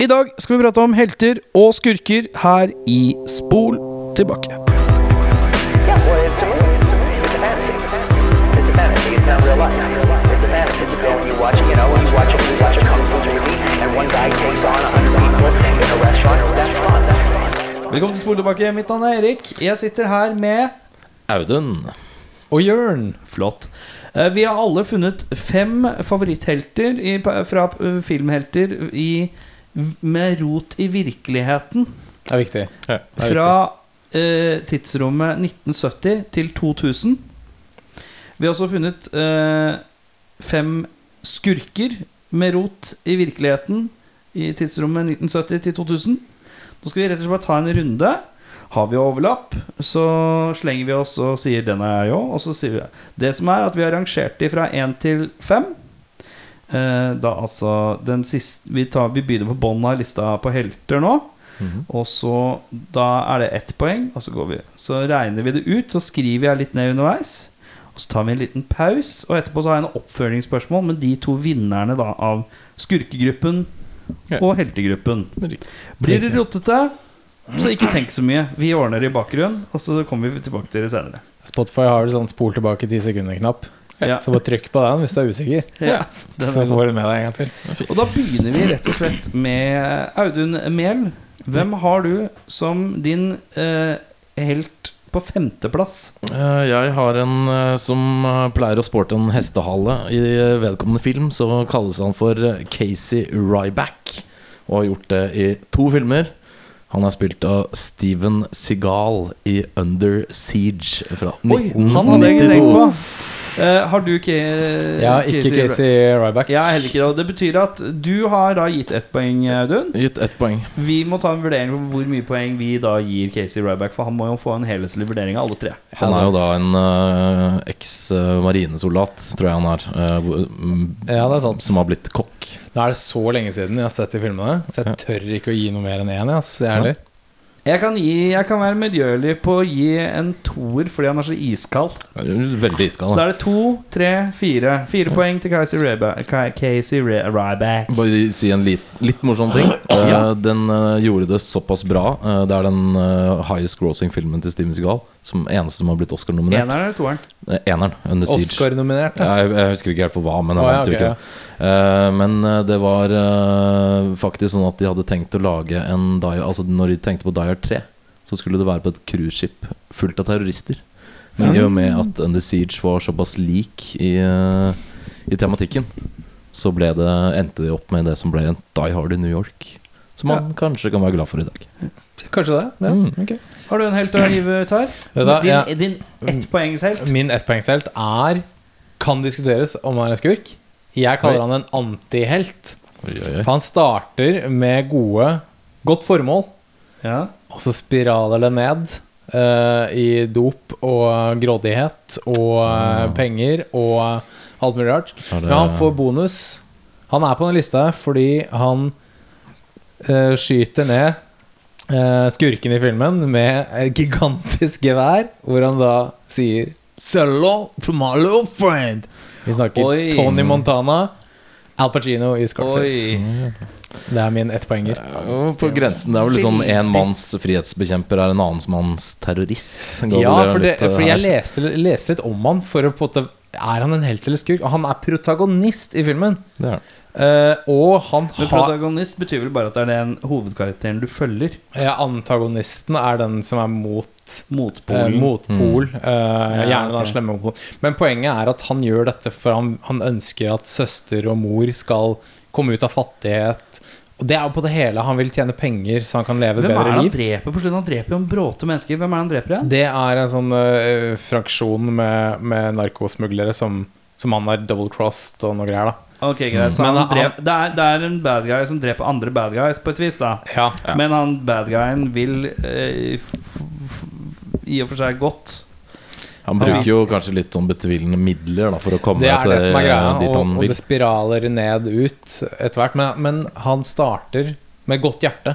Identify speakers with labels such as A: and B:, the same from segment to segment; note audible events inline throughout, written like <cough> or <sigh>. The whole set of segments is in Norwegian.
A: I dag skal vi prate om helter og skurker her i Spol tilbake.
B: Yeah, well, it's a movie. It's a movie. It's a fantasy. It's a fantasy. It's a fantasy. It's not real life. It's a fantasy. It's a film you watch. You know, you watch a you watch a kung fu movie, and one guy takes on a hundred people in a restaurant. That's fun. That's fun.
A: Velkommen til Spol tilbake. Mitt navn er Erik. Jeg sitter her med
C: Audun.
A: Og Jørn. Flott. Eh, Vi har alle funnet fem favoritthelter i, fra eh, filmhelter i, med rot i virkeligheten.
D: Det er viktig. Det er
A: Fra eh, tidsrommet 1970 til 2000. Vi har også funnet eh, fem skurker med rot i virkeligheten i tidsrommet 1970 til 2000. Nå skal vi rett og slett bare ta en runde. Har vi overlapp, så slenger vi oss og sier 'den er jeg òg', og så sier vi det. Det som er at vi har rangert de fra én til fem. Eh, da altså den siste Vi, tar, vi begynner på bånn av lista på helter nå. Og så Da er det ett poeng, og så går vi. Så regner vi det ut, så skriver jeg litt ned underveis. Og så tar vi en liten pause, og etterpå så har jeg en oppfølgingsspørsmål med de to vinnerne da av skurkegruppen
C: Ja.
A: og heltegruppen.
C: Riktig.
A: Blir det rotete, så ikke tenk så mye. Vi ordner det i bakgrunnen, og så kommer vi tilbake til det senere.
D: Spotify har vel sånn spol tilbake ti sekunder-knapp.
A: Ja.
D: Så bare trykk på den hvis du er usikker.
A: Ja, den er sånn.
D: så
A: god.
D: får du med deg en gang til.
A: Og da begynner vi rett og slett med eh, Audun Mehl. Hvem har du som din eh, helt på femteplass?
C: Eh, Jeg har en eh, som eh, pleier å sporte en hestehale. I eh, vedkommende film så kalles han for eh, Casey Ryback, og har gjort det i to filmer. Han er spilt av Steven Seagal i Under Siege fra
A: han hadde jeg ikke tenkt
C: 1992.
A: på. Eh, har du ikke
D: Ja, ikke Casey Ryback.
A: Jeg er heller ikke det. Og det betyr at du har da gitt ett poeng, Audun.
C: Gitt ett poeng.
A: Vi må ta en vurdering på hvor mye poeng vi da gir Casey Ryback, for han må jo få en helhetlig vurdering av alle tre.
C: Han er jo da en eh, eks-marinesoldat, tror jeg han er. eh, hvor- mm,
D: Ja, det er sant.
C: Som har blitt kokk.
D: Nå er det så lenge siden jeg har sett de filmene, så jeg tør ikke å gi noe mer enn én. Ass. Jeg er
C: Ja.
D: ærlig.
A: Jeg kan, gi, jeg kan være medgjørlig på å gi en toer fordi han er så iskald. Så
C: Veldig iskald.
A: da
C: da.
A: er det to, tre, fire. Fire poeng til Casey Ryback. Ka- Casey Ry- Ryback.
C: Bare si en lit, litt morsom ting. Eh,
A: Ja.
C: Den eh, gjorde det såpass bra. Eh, det er den eh, highest grossing-filmen til Steven Seagal. Som eneste som har blitt Oscar-nominert.
A: Eneren eller toeren?
C: Eh, Eneren. Under Siege.
D: Oscar-nominert.
C: Ja,
D: da.
C: Jeg, jeg husker ikke helt for hva, men han
D: Å, ja,
C: vant jo
D: ok,
C: ikke det. Eh, men eh, det var eh, faktisk sånn at de hadde tenkt å lage en Dyer Altså når de tenkte på Dyer 3, så skulle det være på et cruiseskip fullt av terrorister. Men i og med at Under Siege var såpass lik i, eh, i tematikken, så ble det, endte de opp med det som ble en Die Hard i New York. Som man kanskje kan være glad for i dag.
D: Kanskje det. Ja.
C: Mm.
D: ok.
A: Har du en helt å hive ut her?
D: Vet du hva,
A: Din,
D: jeg-
A: din ettpoengshelt?
D: Min ettpoengshelt er Kan diskuteres om han er en skurk. Jeg kaller
C: Oi.
D: han en antihelt.
C: Oi, oi, oi.
D: For han starter med gode, godt formål.
A: Ja.
D: Og så spiraler det ned eh, i dop og grådighet og eh, penger og alt mulig rart.
C: Ja, det-
D: Men han får bonus. Han er på den lista fordi han eh, skyter ned eh, skurken i filmen med et gigantisk gevær, hvor han da sier Hello to my little friend. Vi snakker
A: Oi.
D: Tony Montana, Al Pacino i Scarface.
A: Oi.
D: Det er min ettpoenger.
C: Ja, På grensen. Det er vel litt sånn en manns frihetsbekjemper er en annen manns terrorist. Går
D: Ja,
C: vel
D: for, det,
C: litt, eh,
D: for jeg
C: her.
D: leste, leste litt om han for å på en måte Er han en helt eller skurk? Og Han er protagonist i filmen.
C: Det er det.
D: Eh, og han
A: Men
D: har
A: protagonist betyr vel bare at det er den hovedkarakteren du følger.
D: ja, Antagonisten er den som er mot eh,
A: Motpolen.
D: motpol. eh,
A: Mm. Ja,
D: gjerne den
A: ok.
D: slemme motpolen. Men poenget er at han gjør dette for han, han ønsker at søster og mor skal komme ut av fattighet. Og det er jo på det hele. Han vil tjene penger så han kan leve et
A: Hvem er det
D: bedre
A: han
D: liv.
A: dreper på slutten? Han dreper jo en bråte mennesker. Hvem er det han dreper igjen?
D: Det er en sånn eh, fraksjon med, med narkosmuglere som, som han har double-crossed og noe greier, da.
A: Ok, greit så
D: Mm.
A: han
D: Men han-
A: drep, det, er, det er en bad guy som dreper andre bad guys, på et vis, da.
D: Ja.
A: Men han bad guyen vil eh, f f i og for seg godt.
C: Han bruker jo kanskje litt sånn betvilende midler da, for å komme
D: Det er
C: til eh,
D: det som er greia,
C: dit
D: og,
C: han
D: og
C: vil.
D: det spiraler ned ut etter hvert. Men, men han starter med godt hjerte,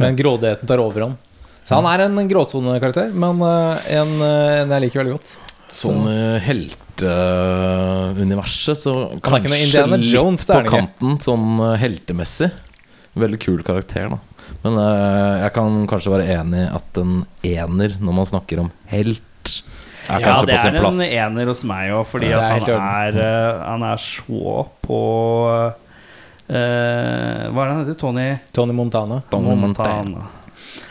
D: men grådigheten tar overhånd. Så han er en gråsonekarakter, men eh, en, eh, en jeg liker veldig godt.
C: Sånn i helteuniverset, så
D: Han er ikke noe
C: kanskje
D: Indiana
C: litt
D: Jones, det
C: på
D: er han ikke.
C: kanten sånn eh, heltemessig. Veldig kul karakter, da. Men eh, jeg kan kanskje være enig i at en ener, når man snakker om helt, er
A: Ja,
C: kanskje
A: det
C: på
A: er
C: sin
A: en
C: plass.
A: ener hos meg òg, fordi
D: Ja,
A: at
D: det er
A: han
D: helt
A: er, eh, han er så på eh, Hva er det han heter? Tony
D: Tony Montana.
C: Tony Montana.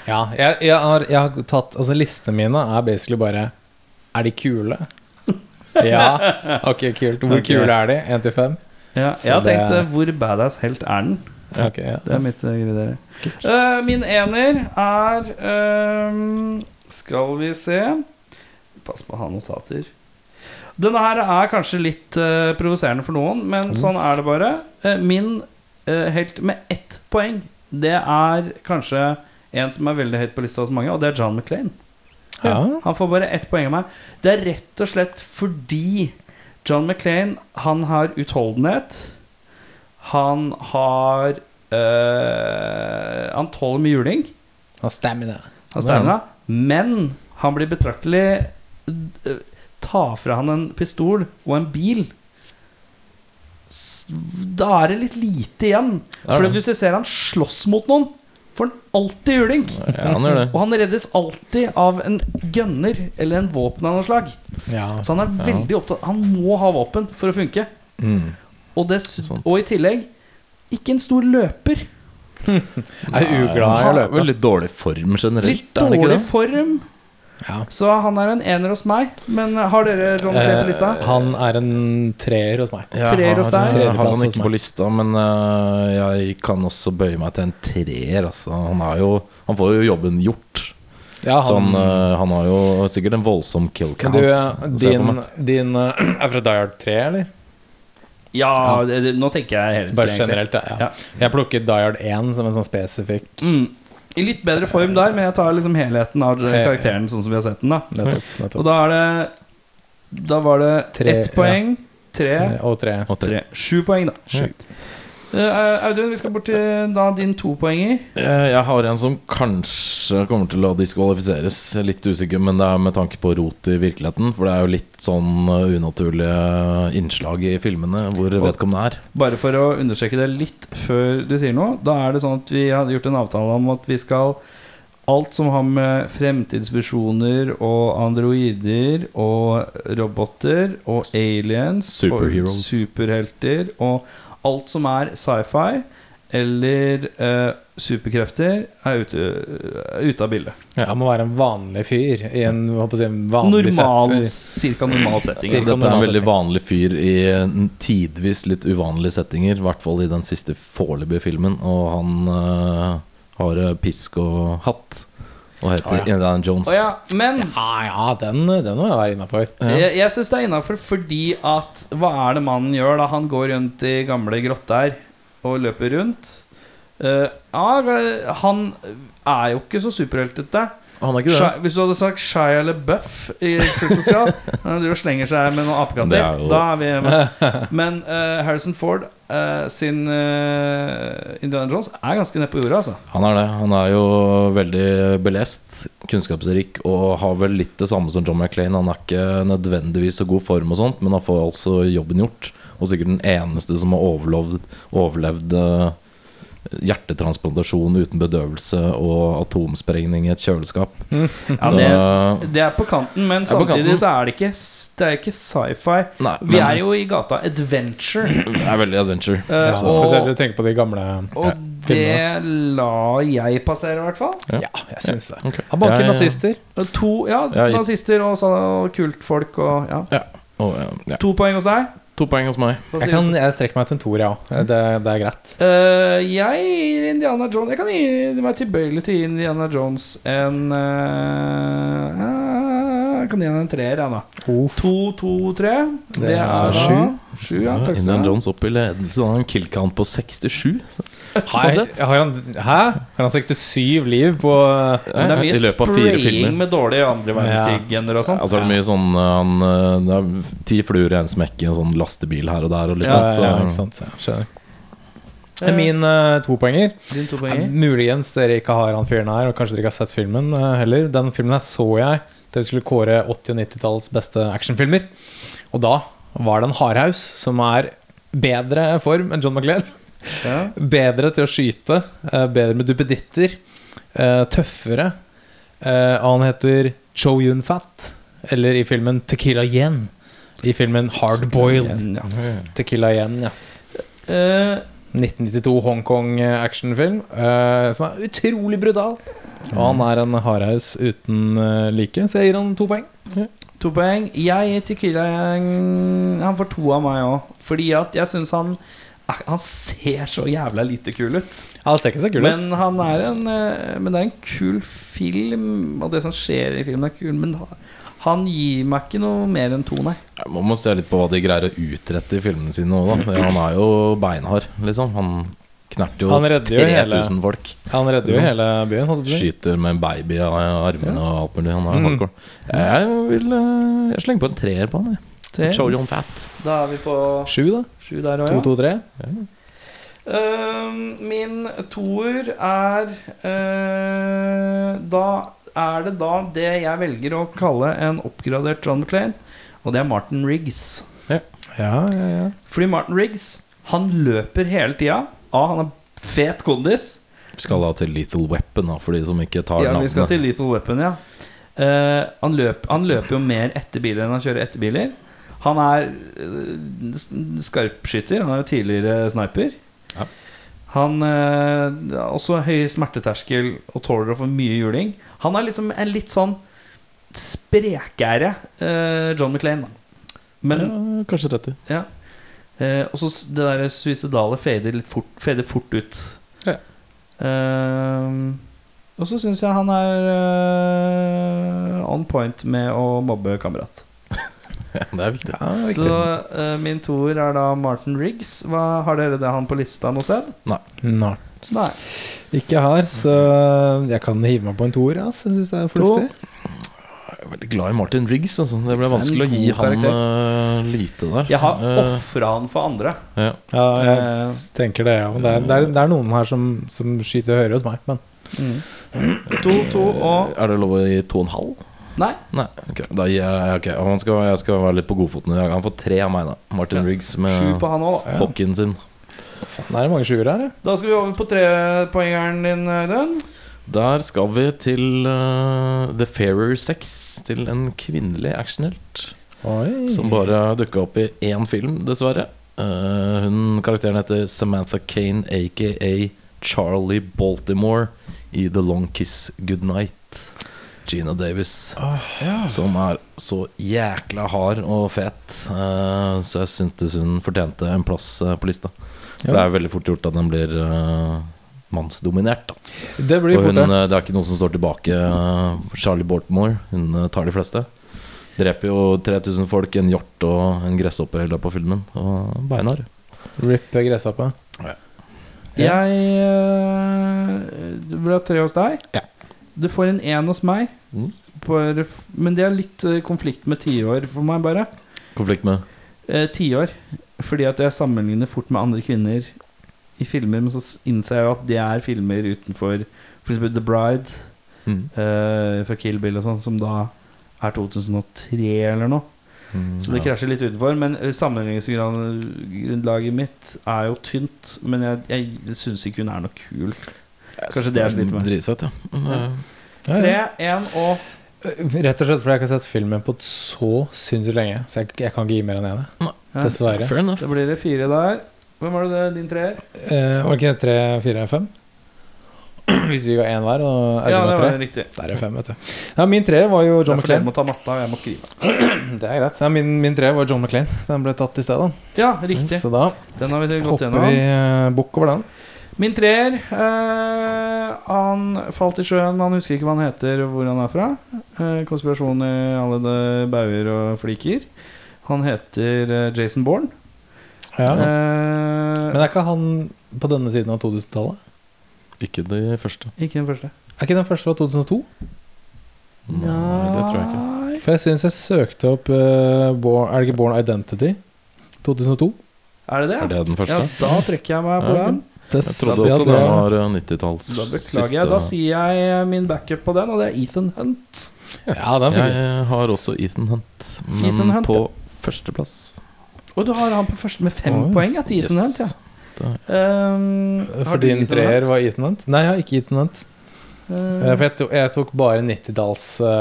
D: Ja, jeg, jeg, har, jeg har tatt Altså, listene mine er basically bare Er de
C: <laughs>
D: kule? Ja. Ok, kult. Hvor
A: Ok.
D: kule er de? Én til fem?
A: Ja,
D: Så
A: jeg har
D: det
A: tenkt
D: er-
A: eh, hvor badass helt er den?
D: Ok, ja.
A: Det er mitt eh, kriterium. Eh, min ener er ehm, Skal vi se Pass på å ha notater. Denne her er kanskje litt eh, provoserende for noen, men sånn er det bare. Eh, min eh, helt med ett poeng, det er kanskje en som er veldig høyt på lista hos mange, og det er John McClain.
D: ja.
A: Han får bare ett poeng av meg. Det er rett og slett fordi John McClain, han har utholdenhet. Han har øh, Han tåler mye juling.
D: Han stamina.
A: Han stamina. Men han blir betraktelig øh, Ta fra han en pistol og en bil. S- Da er det litt lite igjen.
C: Ja,
A: For
C: det.
A: hvis du ser han slåss mot noen, får han alltid juling.
C: Ja, han
D: <laughs>
C: gjør
A: Og
C: det.
A: han reddes alltid av en gunner eller en våpen av noe slag.
D: Ja.
A: Så han er veldig opptatt Han må ha våpen for å funke.
C: Mm.
A: Og, det, s-
C: Sant.
A: og i tillegg ikke en stor løper.
D: Er uglad i å
C: Han er
D: løpe.
C: vel litt dårlig form generelt,
A: Litt
C: er han ikke
A: dårlig
C: det?
A: form.
D: Ja.
A: Så han er en ener hos meg. Men eh, har dere John McClane på lista?
D: Eh, han er en treer hos meg.
C: Ja,
A: Treer hos deg?
C: Jeg har altså.
D: Tredjeplass
C: han
D: hos
C: ikke
D: meg.
C: på lista, men eh, jeg kan også bøye meg til en treer. Altså. Han, er jo, han får jo jobben gjort.
D: Ja,
C: Så han,
D: han,
C: eh, han har jo sikkert en voldsom kill
D: men
C: count.
D: du, eh,
C: ser jeg
D: din,
C: for meg.
D: din eh, <clears throat> er fra Die Hard 3, eller?
A: Ja, det, det, nå tenker jeg helst
D: Bare
A: egentlig.
D: generelt, ja.
A: Ja.
D: ja. Jeg plukket Die Hard 1 som en sånn spesifikk
A: Mm. I litt bedre form der, men jeg tar liksom helheten av
D: ja.
A: karakteren sånn som vi har sett den. da
D: Nettopp.
A: Og
D: nettopp.
A: da er det Da var det
D: Tre,
A: ett
D: ja.
A: poeng. Tre.
D: Og tre.
C: Og tre.
A: Tre. Sju poeng, da.
C: Sju.
A: Eh, Audun, vi skal bort til da din topoenger.
C: Eh, Jeg har en som kanskje kommer til å diskvalifiseres. Jeg er Litt usikker, men det er med tanke på rot i virkeligheten. For det er jo litt sånn eh, unaturlige innslag i filmene hvor vedkommende er.
A: Bare for å understreke det litt før du sier noe. Da er det sånn at vi har gjort en avtale om at vi skal Alt som har med fremtidsvisjoner og androider og roboter og aliens og
C: Superheroes.
A: superhelter og alt som er sci-fi eller eh, superkrefter, er ute, er ute av bildet.
D: Han må være en vanlig fyr i en, hva på å si, en vanlig
A: Normal,
D: setting.
A: cirka normal setting.
D: Cirka
C: Dette er en
D: normal
C: veldig
D: setting.
C: vanlig fyr i en tidvis litt uvanlige settinger. I hvert fall i den siste foreløpige filmen. Og han eh, har eh, pisk og hatt. Og
D: Ja,
C: heter
D: ja.
C: Indiana Jones.
A: Å ja, men
D: Ja, Ah, ja, den, den må jeg være innafor.
A: Jeg, jeg syns det er innafor fordi at Hva er det mannen gjør da? Han går rundt i gamle grotter og løper rundt. Eh, ja, han er jo ikke så superheltete.
C: Han er ikke det.
A: Shia- Hvis du hadde sagt Shia eller Buff i Christmas
C: <laughs>
A: Call, han driver og slenger seg med noen
C: Det
A: apekatter,
C: er jo-
A: da er vi
C: <laughs>
A: hjemme. Men eh, Harrison Ford eh, sin eh, Indiana Jones er ganske nede på jorda, altså.
C: Han er det. Han er jo veldig belest, kunnskapsrik og har vel litt det samme som John McClain. Han er ikke nødvendigvis så god form og sånt, men han får altså jobben gjort. Og sikkert den eneste som har overlevd, overlevd eh, hjertetransplantasjon uten bedøvelse og atomsprengning i et kjøleskap.
A: Ja,
C: Så, eh,
A: det, det er på kanten, men
C: er på
A: samtidig
C: kanten.
A: så er det ikke, s- det er ikke sci-fi.
C: Nei,
A: Vi
C: men-
A: er jo i gata
C: <clears throat>
A: adventure.
C: Det er veldig adventure.
A: Eh,
D: Ja,
A: og-
D: Sånn spesielt når du tenker på de gamle
A: Og det la jeg passere, i hvert fall.
D: Ja, jeg syns det.
C: Ok.
D: Han banker
C: Jeg-
D: nazister.
A: Og To ja,
C: Ja, gitt.
A: nazister og, så- og kultfolk og ja.
C: Ja. Og, eh, ja.
A: To poeng hos deg.
C: To poeng hos meg.
A: Hva
D: Jeg,
A: sier
D: kan,
A: du?
D: jeg strekker meg til en toer, jeg òg. Det, det er greit.
A: Eh, jeg gir Indiana Jones Jeg kan gi meg tilbøyelig til å gi Indiana Jones en eh, eh, Jeg kan gi han en treer, jeg, da.
D: Oh,
A: To, to, tre. Det,
D: Det er
A: er
D: altså
A: da- Sju, ja, takk skal du ha.
C: Indian Jones opp i ledelse. Han har en kill count på 67.
D: Hei, har han, hæ? Har han 67 liv på
A: Men det er mye
C: I løpet av fire filmer.
A: spraying med dårlige andre verdenskrig-gener og sånt.
C: Altså er det mye sånn eh, han, eh, Det er ti fluer i en smekk i en sånn lastebil her og der og litt
D: ja,
C: sånt. Så,
D: ja, ikke sant, så jeg skjønner. Min uh, topoenger
A: Din to
D: Eh,
A: poenger.
D: Muligens dere ikke har han fyren her, og kanskje dere ikke har sett filmen eh, heller. Den filmen her så jeg da vi skulle kåre 80- og 90-tallets beste actionfilmer. Og da var det en hardhaus som er bedre form enn John McLean.
A: Ja.
D: Bedre til å skyte. eh, Bedre med duppeditter. eh, Tøffere. Eh, Han heter Cho Yun-fat. Eller i filmen Tequila Yen. I filmen Hard Boiled.
A: Ja.
D: Tequila Yen, ja.
A: Eh,
D: 1992 Hongkong-actionfilm. eh, som er utrolig brutal. Og han er en hardhaus uten eh, like, så jeg gir han to poeng.
A: To poeng. Jeg gir Tequila Yang Han får to av meg òg. Fordi at jeg syns han ah, Han ser så jævla lite kul ut.
D: Han ser ikke så kul ut.
A: Men han er en eh, Men det er en kul film, og det som skjer i filmen, er kul. Men ha- han gir meg ikke noe mer enn to, nei.
C: Ja, Man må se litt på hva de greier å utrette i filmene sine òg,
D: <clears throat>
C: da. Han er jo beinhard, liksom. Han knerter jo
D: Han redder jo
C: 3000
D: hele-
C: folk.
D: Han redder jo hele byen. holdt jeg på å si.
C: Skyter med en baby av armene og alt mulig. Han er
D: Mm.
C: hardcore. Jeg vil eh, Jeg slenger på en treer på han, jeg.
A: Tre.
C: Cho Yun Fat.
A: Da er vi på
D: Sju, da.
A: sju der
D: To,
A: òg, ja.
D: to, tre.
A: Ehm, min toer er eh, Da er det da det jeg velger å kalle en oppgradert John McClane, og det er Martin Riggs.
D: Ja, ja, ja.
A: Fordi Martin Riggs, han løper hele tida. A, han er fet kondis.
C: Vi skal da til Lethal Weapon, da, for de som ikke tar
A: Ja, vi skal
C: navnet.
A: til Lethal Weapon, ja. Eh, han, løp, han løper jo mer etter biler enn han kjører etter biler. Han er eh, s- skarpskytter. Han er jo tidligere sniper.
C: Ja.
A: Han eh, har også høy smerteterskel og tåler å få mye juling. Han er liksom en litt sånn sprekere eh, John McClain. Men
C: ja, kanskje 30.
A: Ja. Eh, og så s- det der suicidale fader litt fort, fader fort ut.
C: Ja.
A: Ehm, og så syns jeg han er eh, on point med å mobbe kamerat.
C: Ja, <laughs> det er viktig.
D: Ja,
A: Så eh, min toer er da Martin Riggs. Hva, har dere det han på lista noe sted?
D: Nei.
A: Nei.
D: Ikke her, så jeg kan hive meg på en toer. ass. Jeg syns det er fornuftig.
C: Jeg er veldig glad i Martin Riggs. Altså. Det
A: Så
C: ble
A: er
C: vanskelig å
A: han
C: gi
A: god
C: han
A: karakter.
C: eh, lite der.
A: Jeg har
C: Eh,
A: ofra han for andre.
C: ja.
D: Ja, jeg
A: Eh.
D: s- tenker det, ja. Det er, det er, det er noen her som, som skyter høyere hos meg, men
C: Mm.
A: To, to og
C: Eh, Er det lov å gi to og en halv?
A: Nei.
C: Nei, ok, da gir jeg ok, han skal, Jeg skal være litt på godfoten i dag. Han får tre av meg, da. Martin
A: Ja.
C: Riggs
A: Sju
C: med
A: på han òg, da.
C: hockeyen sin.
D: faen, det er mange sjuer her, ja.
A: Da skal vi over på trepoengeren din, eh, Audun.
C: Der skal vi til eh, The Fairer Sex. Til en kvinnelig actionhelt
D: Oi.
C: som bare dukka opp i én film, dessverre. Eh, hun, karakteren heter Samantha Kane, aka Charlie Baltimore i The Long Kiss Goodnight. Gina Davis. Som er så jækla hard og fet. eh, så jeg syntes hun fortjente en plass eh, på lista. For
D: Ja.
C: Det er veldig fort gjort at den blir eh, mannsdominert. Da.
D: Det blir
C: Og
D: fort
C: hun,
D: det.
C: eh, det er ikke noe som står tilbake. eh, Charlie Baltimore, hun eh, tar de fleste. Dreper jo 3000 folk, en hjort og en gresshoppe i løpet av filmen. Og beinhard.
D: Rip gresshoppa. Ja.
A: Jeg øh, Du ble tre hos deg.
C: Ja.
A: Du får en én hos meg.
C: Mm.
A: For, men det er litt øh, konflikt med tiår for meg, bare.
C: Konflikt med
A: Eh, Tiår. fordi at jeg sammenligner fort med andre kvinner i filmer, men så s- innser jeg jo at det er filmer utenfor f.eks. The Bride
C: mm.
A: eh, fra Kill Bill og sånn, som da er 2003 eller noe.
C: Mm,
A: Så det
C: ja.
A: krasjer litt utenfor. Men eh, sammenligningsgrunnlaget mitt er jo tynt. Men jeg, jeg syns ikke hun er noe kul.
C: Jeg
A: kanskje
C: synes
A: det er litt mer.
C: Dritfett, ja. Men,
A: Ja.
C: eh,
D: Ja,
A: Tre,
D: ja.
A: én og
D: Rett og slett fordi jeg ikke har sett filmen på så sinnssykt lenge. Så jeg, jeg kan ikke gi mer enn ene.
A: Ja,
D: Dessverre.
C: Fair enough.
A: Da blir det fire der. Hvem var det det din treer?
D: Eh, var det ikke tre, fire, fem? <clears throat> Hvis vi ga én hver,
A: Ja,
D: og Audun
A: det
D: ga
A: var
D: tre.
A: riktig.
D: Der er fem, vet du. Ja, min tre var jo
A: John
D: John McClane.
A: må ta matta, og jeg må skrive.
D: Det er greit. Ja, min, min tre var John McClane. Den ble tatt i stedet.
A: Ja, riktig.
D: Så da
A: Den har vi gått
D: hopper vi
A: gjennom.
D: eh, bukk over den.
A: Min treer eh, Han falt i sjøen. Han husker ikke hva han heter og hvor han er fra. Eh, konspirasjon i alle de bauger og fliker. Han heter eh, Jason Bourne.
D: Eh,
A: Eh,
D: Men er ikke han på denne siden av 2000-tallet?
C: Ikke de første.
A: ikke den første.
D: Er ikke den første fra 2002?
C: Nei, det tror jeg ikke.
A: Nei.
D: For jeg syns jeg søkte opp eh, Born, Er det ikke Born Identity? 2002?
A: Er det det?
C: Er det den første?
A: Ja, da trekker jeg meg på
C: Ja, ok.
A: den.
D: Det
C: Jeg
D: s-
C: trodde
D: ja,
C: også
D: det-
C: den var eh, 90-talls
A: Da beklager
C: siste.
A: jeg. Da sier jeg eh, min backup på den, og det er Ethan Hunt.
D: Ja, den fikk vi.
C: Jeg eh, har også Ethan Hunt, men
A: Ethan Hunt,
C: på førsteplass.
A: Og du har han på første med fem
D: Oi. Eh,
A: poeng ja, til Ethan
C: Yes.
A: Hunt. Ja. Um, har
D: For
A: du
D: din
A: gitt den her?
D: treer var Ethanant? Nei, jeg har ikke Ethanant.
A: Eh,
D: For jeg tok, jeg tok bare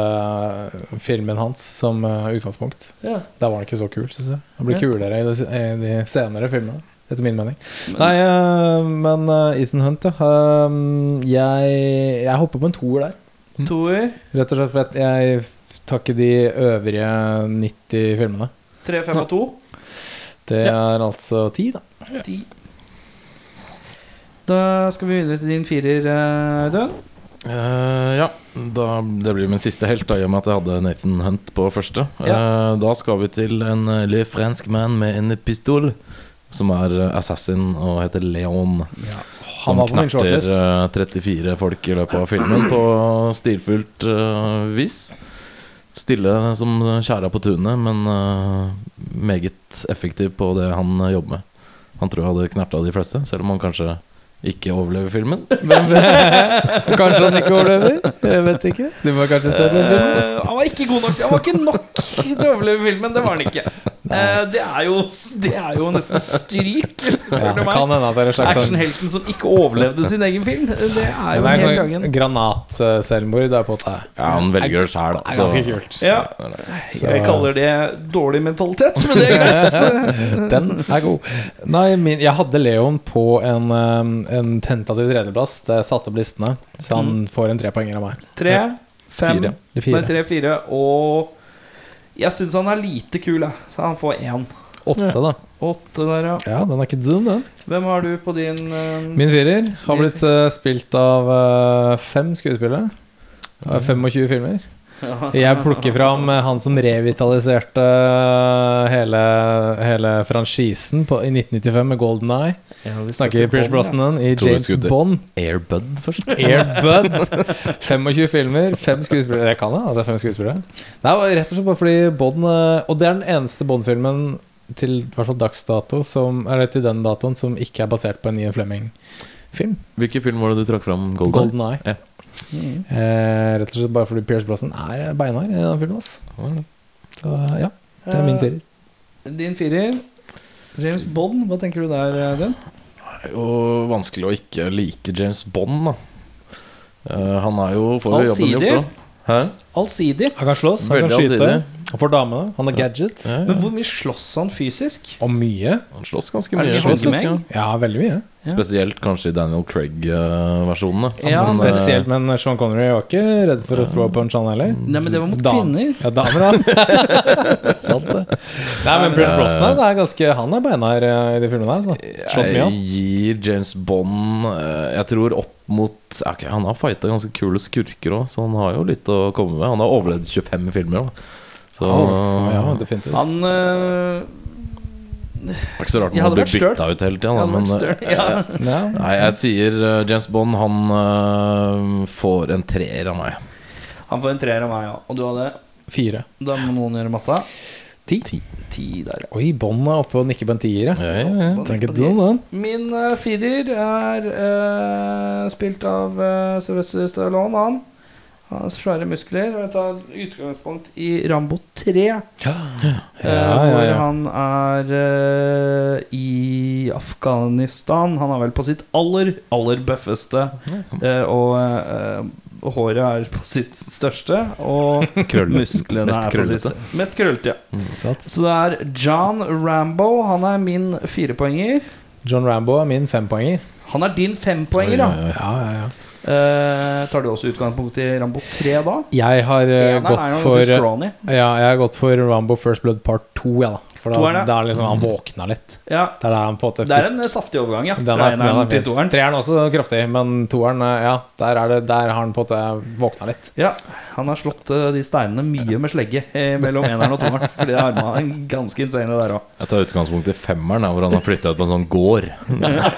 D: 90-tallsfilmen hans som eh, utgangspunkt.
A: ja.
D: Der var den ikke så kul, syns jeg. Den blir
A: Ja.
D: kulere i de, se- i de senere filmene, etter min mening. Nei, eh, men eh, Ethan Hunt, ja. Eh, jeg, jeg hopper på en toer der.
A: Toer.
D: Rett og slett fordi jeg tar ikke de øvrige 90 filmene.
A: Tre, fem og to.
D: Det er altså ti, da.
A: Ti. Da skal vi videre til din firer, eh, Audun.
C: Eh, ja, da, det blir min siste helt, da, i og med at jeg hadde Nathan Hunt på første. Eh, da skal vi til en eh, le fransk man med en pistol, som er eh, assassin og heter Leon.
D: Han
C: Som
D: var på min
C: knerter
D: shortlist.
C: <laughs> eh, 34 folk i løpet av filmen på stilfullt eh, vis. Stille som tjæra på tunet, men eh, meget effektiv på det han eh, jobber med. Han tror jeg hadde knerta de fleste, selv om han kanskje ikke overlever filmen.
D: eh, Kanskje han ikke overlever? Jeg vet ikke. Du må kanskje se den filmen.
A: Eh, han var ikke god nok Han var ikke nok til å overleve filmen. Det var han ikke. Eh, det, er jo, det er jo nesten stryk, spør
D: Ja,
A: du
D: det
A: meg.
D: kan hende at det er en slags sånn
A: Actionhelten som ikke overlevde sin egen film. eh, Det er jo
D: Nei,
A: helt
D: sånn
A: gangen.
D: granatselvmord er på det.
C: Ja, han velger det altså. sjæl,
D: er ganske kult.
A: Ja,
D: Så-
A: jeg kaller det dårlig mentalitet, men det er greit.
D: <laughs> Den er god. Nei, min, jeg hadde Leon på en, eh, en tentativ tredjeplass. Det er satt opp listene, så han får en trepoenger av meg.
A: Tre, fem,
C: Fire.
D: Det er
A: nei,
D: fire.
A: tre, fire og Jeg syns han er lite kul, jeg. så han får én.
D: Åtte, da.
A: Åtte der, ja.
D: Ja, den er ikke dum, den.
A: Hvem har du på din eh,
D: Min firer har blitt eh, spilt av eh, fem skuespillere. Av 25 filmer.
A: eh,
D: <laughs> Jeg plukker fram eh, han som revitaliserte hele, hele franchisen på, i 1995 med Golden Eye. Snakker Pierce Brosnan i
C: Tror du
D: James
C: skulle-
D: Bond.
C: Airbud først?
D: Airbud. 25 filmer, fem skuespillere. Jeg kan det, altså fem skuespillere. Det er jo rett og slett bare fordi Bond eh, Og det er den eneste Bond-filmen til i hvert fall dags dato som, eller til den datoen som ikke er basert på en Ian Fleming-film.
C: Hvilken film var det du trakk fram? Golden?
D: Golden Eye.
C: Ja.
D: Eh, rett og slett bare fordi Pierce Brosnan er beinhard i den filmen. ass. Så ja, det er min firer.
A: Din firer. James Bond, hva tenker du der, eh, Audun?
C: Det er jo vanskelig å ikke like James Bond, da. Eh, han er jo får jo jobben
A: Allsidig.
C: gjort, da. Hæ?
A: Allsidig.
D: Han kan slåss, han
C: Veldig
D: kan skyte.
C: allsidig.
D: Han får damene. Han har gadgets.
C: Ja,
A: Men hvor mye slåss han fysisk?
D: Og mye.
C: Han slåss ganske
A: Er det
C: mye.
A: ikke
C: faktisk,
A: Schwarzenegger?
C: ja.
D: Ja, veldig mye.
A: Ja.
C: Spesielt kanskje i Daniel Craig-versjonene. eh,
A: Ja,
D: Men Spesielt, men Sean Connery var ikke redd for å throw punch, han heller.
A: Nei, men det var mot
D: Dam-
A: kvinner.
D: Ja,
A: <laughs>
D: damer, da. Sant det. Nei, men Bruce Brosnan det er ganske Han er beinhard eh, i de filmene her. Så. Slåss mye,
C: Jeg
D: han.
C: gir James Bond eh, Jeg tror opp mot ja, ok, Han har fighta ganske kule skurker òg, så han har jo litt å komme med. Han har overlevd 25 filmer, da. Så
D: Ja,
C: det
D: definitivt.
A: Han øh,
C: er ikke så rart
A: Jeg hadde
C: når han blir
A: vært støl.
C: bytta ut hele tida.
A: ja, men,
C: Men eh,
A: støl, ja.
D: ja.
C: Nei, jeg sier eh, James Bond. Han eh, får en treer av meg.
A: <laughs> Han får en treer av meg, ja. Og du hadde
D: Fire.
A: Da må noen gjøre matta.
D: Ti.
A: Ti der, ja.
D: Oi, Bond er oppe og nikker på en tier, ja.
C: Ja, ja, <laughs> ja.
D: Tenk et sånn, den.
A: Min uh, feeder er øh, spilt av uh, Sylvester Stallone, han. Han har svære muskler. Og jeg tar utgangspunkt i Rambo 3. eh,
D: Ja, ja, ja.
A: Hvor han er eh, i Afghanistan. Han er vel på sitt aller, aller bøffeste. eh, og eh, håret er på sitt største. Og musklene er på
C: Mest
A: sitt
C: krøllete. Mm.
A: største. Mest krøllete, ja.
D: Sant.
A: Så det er John Rambo. Han er min firepoenger.
D: John Rambo er min fempoenger.
A: Han er din fempoenger,
C: Oi,
A: da.
C: oi, oi.
D: Ja, ja, ja.
A: Eh, tar du også utgangspunkt i Rambo 3 da?
D: Jeg har eh,
A: Eneren
D: gått
A: er jo
D: for
A: ganske
D: Ja,
A: scrawny.
D: jeg har gått for Rambo First Blood Part 2, ja, da. For
A: Toeren,
D: da,
A: ja.
D: da er liksom han våkna litt.
A: Ja,
D: Det er der han på en måte
A: det er en eh, saftig overgang, ja.
D: Den
A: Fra
D: er, den er
A: eneren til
D: fin.
A: toeren.
D: Treeren er også kraftig, men toeren eh, Ja, der, er det, der har han på en måte våkna litt.
A: Ja, han har slått eh, de steinene mye med slegge eh,
C: <laughs>
A: mellom eneren og toeren. Fordi arma er ganske insane der òg.
C: Jeg tar utgangspunkt i femmeren, der, hvor han har flytta ut på en sånn gård.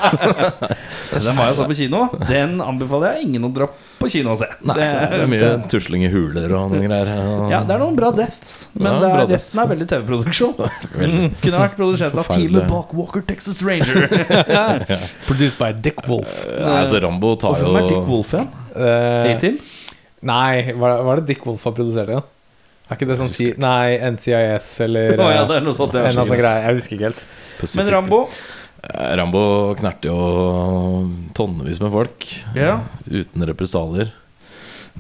A: Den var jeg så på kino. Den anbefaler jeg ingen å dra på kino og se.
C: Nei, det er mye tusling i huler og noen greier.
A: ja, det er noen bra deaths, men
C: Ja,
A: det
C: bra
A: er,
C: deaths.
A: resten er veldig TV-produksjon.
C: Veldig.
A: Kunne vært produsent av
C: Forferdelig.
A: teamet bak Walker Texas
C: <laughs>
A: Ranger. <laughs>
D: Produced by Dick Wolf.
C: Nei, så Rambo tar
A: Hvorfor
C: jo
A: er Dick Wolf igjen? A-Team?
D: nei, hva hva er det Dick Wolf har produsert igjen? Er ikke det sånn si Nei, NCIS eller
A: Å ja,
D: eh,
A: det er noe sånt.
D: en
A: Ja.
D: eller annen sånn greie. Jeg husker ikke helt.
C: Pacific-
A: Men Rambo
C: Eh, Rambo knerte jo tonnevis med folk
A: Ja.
C: uten represalier.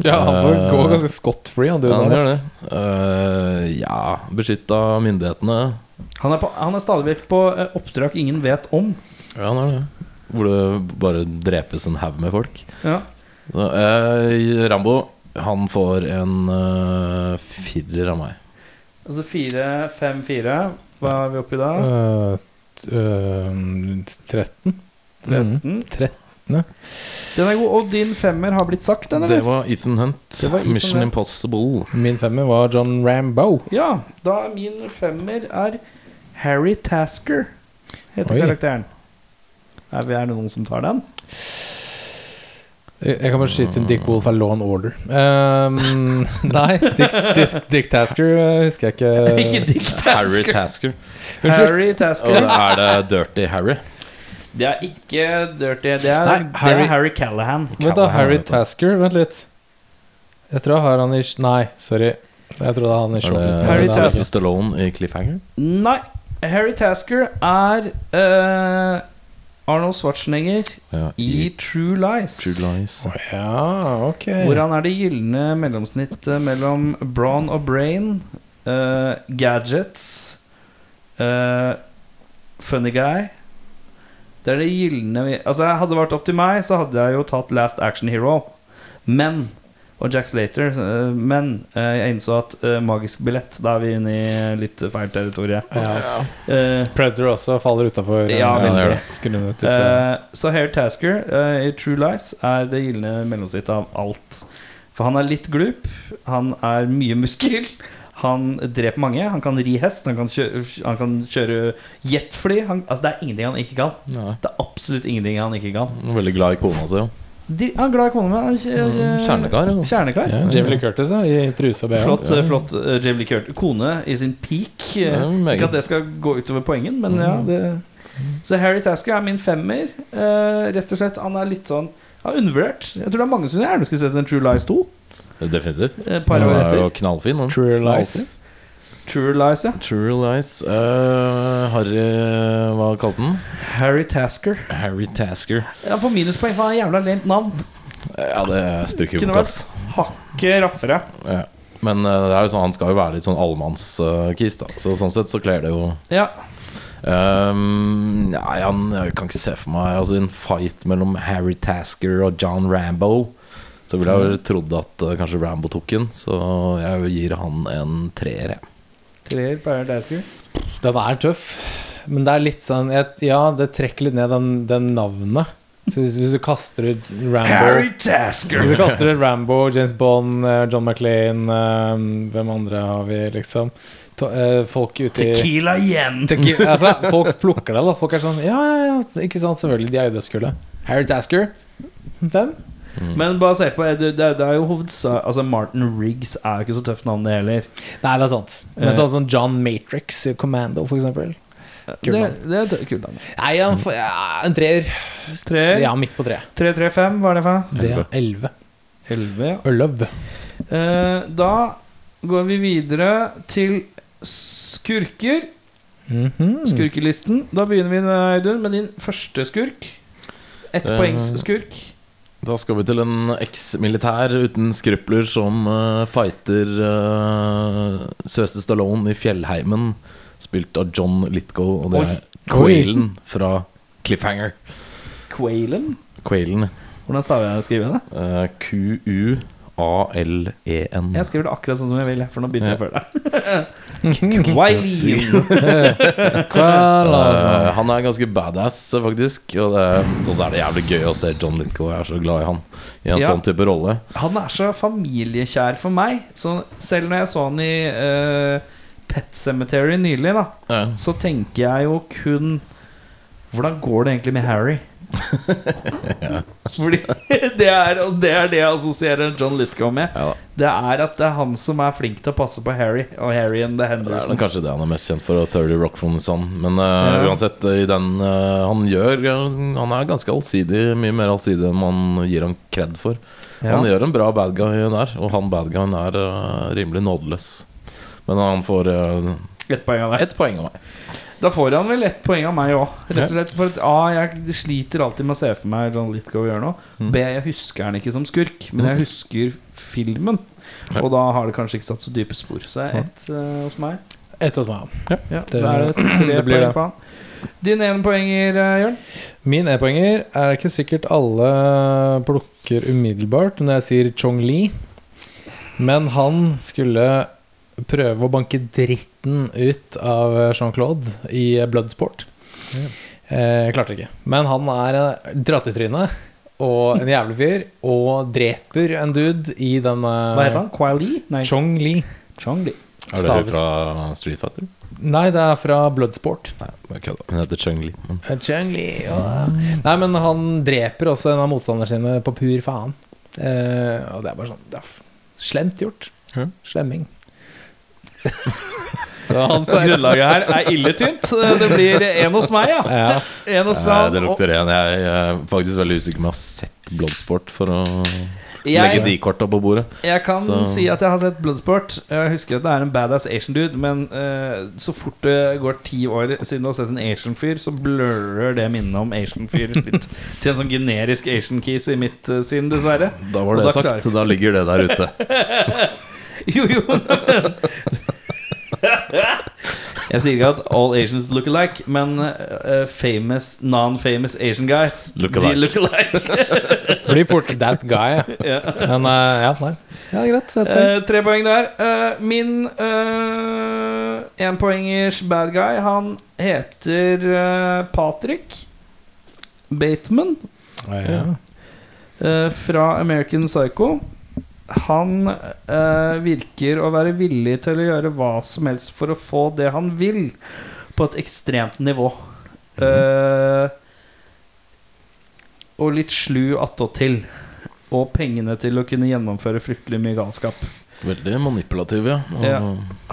D: Ja, han får
C: Eh,
D: gå ganske scot-free. Han,
C: Ja,
D: duden
C: han gjør
D: hans.
C: det. Eh, ja, beskytt av myndighetene.
A: Han er, på, han er stadig vekk på eh, oppdrag ingen vet om.
C: Ja, han er det. Hvor det bare drepes en haug med folk.
A: Ja.
C: Så, eh, Rambo, han får en eh, firer av meg.
A: Altså fire, fem, fire. Hva er vi oppe i da?
D: Eh, t- eh, 13?
A: 13.
D: Mm. Trettende.
A: Den er god. Og din femmer har blitt sagt, den,
C: Det
A: eller?
C: var Ethan Hunt.
A: Det var Ethan
C: Mission
A: Hunt.
C: Impossible.
D: Min femmer var John Rambo.
A: Ja. Da er min femmer er Harry Tasker, heter
D: Oi.
A: karakteren. Er, vi- er det noen som tar den?
D: Jeg jeg kan bare skyte inn Dick Wolf av Law and Order. Ehm, <laughs> nei, Dick, Dick, Dick Tasker eh, husker jeg
A: <laughs>
D: ikke.
A: <laughs> Ikke Dick
D: Eh,
C: Harry
A: Tasker.
C: Tasker.
A: Harry
C: Og
A: Tasker.
C: er det Dirty Harry?
A: Det er ikke Dirty. Det er,
D: Nei, Harry-
A: det er Harry Callahan.
D: Vent da,
C: Callahan,
D: Harry
C: vet du.
D: Tasker, vent litt. Jeg tror jeg har han i sh- Nei, sorry. Jeg tror det er han i
C: Er det
D: shortlisten.
A: Harry Tasker.
C: Sylvester Stallone i Cliffhanger?
A: Nei. Harry Tasker er eh, Arnold Schwarzenegger
C: Ja,
A: i True Lies.
C: True Lies.
D: Å Ja, ok.
A: Hvor han er det gylne mellomsnittet mellom Braun og Brain, eh, Gadgets, eh, Funny Guy Det er det gylne vi- Altså, hadde det vært opp til meg, så hadde jeg jo tatt Last Action Hero. Men og Jack Slater. eh, Men eh, jeg innså at eh, magisk billett Da er vi inne i litt feil territorium.
D: Ja.
A: Eh,
D: Predator også faller eh, utafor.
A: Ja,
C: veldig.
D: veldig.
A: Eh, så Hair Tasker eh, i True Lies er det gylne mellomsnittet av alt. For han er litt glup, han er mye muskel, han dreper mange, han kan ri hest, han kan kjøre, han kan kjøre jetfly han, Altså, det er ingenting han ikke kan.
C: Ja.
A: Det er absolutt ingenting han ikke kan.
C: Han er Veldig glad i kona si. ja.
A: De, han er glad i kona mi. han kj-
C: Mm, Kjernekar. ja.
A: Kjernekar.
D: ja, Jamie Lee Curtis ja, i truse og bh.
A: Flott, eh, flott eh, Jamie Lee Curtis. Kone i sin peak. eh,
C: Ja, meget.
A: ikke at det skal gå utover poengen, men ja det. Så Harry Tasker er min femmer. Eh, rett og slett, Han er litt sånn ja, undervurdert. Jeg tror det er mange som gjerne skulle sett en True Lies 2.
C: Definitivt.
A: Et par år
C: Han er jo
A: etter.
C: knallfin. Han.
D: True Lies.
A: True Lies, ja.
C: True Lies. Eh, Harry Hva kalte han?
A: Harry Tasker.
C: Harry Tasker.
A: Han får minuspoeng for han har jævla lent navn.
C: Ja, det stukker jo
A: Kunne
C: på
A: vært
C: plass.
A: hakket raffere.
C: Ja. Men eh, det er jo sånn, han skal jo være litt sånn allmannskis, da. Så sånn sett så kler det jo
A: Ja.
C: Ehm, Nei, han jeg kan ikke se for meg Altså en fight mellom Harry Tasker og John Rambo. Så ville jeg vel trodd at eh, kanskje Rambo tok den, så jeg gir han en treer, jeg.
A: Treer på Harry Tasker.
D: Den er tøff, men det er litt sånn jeg, Ja, det trekker litt ned den, den navnet. Så hvis, hvis du kaster ut Rambo
A: Tasker!
D: Hvis du kaster ut Rambo, James Bond, eh, John McLean eh, Hvem andre har vi, liksom? To, eh, folk ute i
A: Tequila igjen!
D: Tequi- altså, Folk plukker deg, da. Folk er sånn Ja, ja, ja. Ikke sant? Selvfølgelig. De er jo dødskulle. Harry Tasker. Hvem?
A: Men bare se på, det, det, det er jo hovedsak Altså, Martin Riggs er jo ikke så tøft navn, det heller.
D: Nei, det er sant. Men sånn som John Matrix i Commando, for eksempel. Kult
A: det,
D: navn.
A: det er et kult navn.
D: Nei, han får ja, en treer.
A: Treer.
D: Ja, midt på tre.
A: 335, hva er det for noe?
D: Det er elleve.
A: 11, ja.
D: Elleve.
A: Eh, da går vi videre til skurker.
D: Mhm.
A: <laughs> Hmm. Skurkelisten. Da begynner vi, med Audun, med din første skurk. Ett
C: Eh,
A: poengs skurk.
C: Da skal vi til en eksmilitær uten skrupler som eh, fighter uh, Søster Stallone i fjellheimen, spilt av John Litgow, og det
A: Oi.
C: er Quailen fra Cliffhanger.
A: Quailen.
C: Quailen.
A: Hvordan staver jeg skriver jeg det?
C: eh, Q-u-a-l-e-n.
A: Jeg skriver det akkurat sånn som jeg vil, for nå begynte jeg før <laughs> deg.
D: Kvar,
C: Eh,
A: sånn.
C: han er ganske badass, eh, faktisk. Og det, og så er det jævlig gøy å se John Litgow. Jeg er så glad i han i en
A: Ja.
C: sånn type rolle.
A: Han er så familiekjær for meg. Så selv når jeg så han i eh, Pet Cemetery nylig, da,
C: Ja.
A: så tenker jeg jo kun Hvordan går det egentlig med
C: <laughs>
A: Harry? Fordi det er, og det er det jeg assosierer John Litcow med.
C: Ja da.
A: Det er at det er han som er flink til å passe på Harry og Harry and the
C: Det er nok
A: Hendersons.
C: kanskje det han er mest kjent for, og 30 Rock from the Sun. Men eh,
A: Ja.
C: uansett, eh, i den eh, han gjør eh, Han er ganske allsidig, mye mer allsidig enn man gir han cred for.
A: Ja.
C: Han gjør en bra bad guy der, og han bad guyen er eh, rimelig nådeløs. Men han får uh,
A: Ett poeng av deg.
C: ett poeng av meg.
A: Da får han vel ett poeng av meg òg. Rett og slett for at A. Jeg sliter alltid med å se for meg John Lithgow gjøre noe.
C: Mm.
A: B. Jeg husker han ikke som skurk, men jeg husker filmen. Og da har det kanskje ikke satt så dype spor. Så det
C: Mm.
A: er ett eh, hos meg.
D: Ett hos meg.
A: Ja,
D: Det-
A: da er <clears throat> det tre
D: det blir
A: poeng
D: det.
A: på han. Dine ene poenger, eh, Jørn?
D: Min e-poenger er ikke sikkert alle plukker umiddelbart når jeg sier Chong Li, men han skulle prøve å banke dritten ut av Jean-Claude i Bloodsport. Eh, klarte ikke. Men han er eh, drattetryne og en jævlig fyr, og dreper en dude i den
A: Hva heter han? Quali? Nei,
D: Chong Li.
A: Chong Li.
C: Er det
D: Staves.
C: fra Street Fighter?
D: Nei, det er fra Bloodsport.
C: Nei, bare kødda. Hun heter Chung Li. Men
D: Chang-Li ja. Nei, men han dreper også en av motstanderne sine på pur faen. Eh, og det er bare sånn det er f- Slemt gjort.
C: Ja.
A: <laughs>
D: Slemming. Så han
A: <laughs> Grunnlaget her er ille tynt. Det blir én hos meg, ja.
D: ja.
A: En hos
C: Nei,
A: han.
C: Eh, det lukter ren. Jeg er faktisk veldig usikker om jeg har sett Bloodsport for å
A: Og
C: legge
A: jeg,
C: de korta på bordet.
A: jeg kan
C: Så-
A: si at jeg har sett Bloodsport. Jeg husker at det er en badass Asian dude, men eh, så fort det går ti år siden du har sett en Asian fyr, så blurrer det minnet om Asian fyr <laughs> litt til en sånn generisk Asian keys i mitt eh, sinn, dessverre.
C: Da var
A: Og
C: det
A: da klarer
C: sagt. Da ligger det der <laughs> ute.
A: <laughs> Jo, jo Jeg sier ikke at all Asians look alike Men eh, famous, non-famous Asian guys
C: Look
A: De
C: alike.
A: look alike <laughs>
D: Blir fort that guy. ja. Men eh, ja, nei. Ja, greit. et poeng.
A: Eh, Tre poeng der Eh, Min uh, En poengers bad guy Han heter eh, Patrick Bateman
D: ja. <laughs>
A: eh, Fra American Psycho Han eh, virker å være villig til å gjøre hva som helst for å få det han vil, på et ekstremt nivå. Eh, og litt slu attåtil. Og pengene til å kunne gjennomføre fryktelig mye galskap.
C: Veldig manipulativ, ja. Og
A: Ja.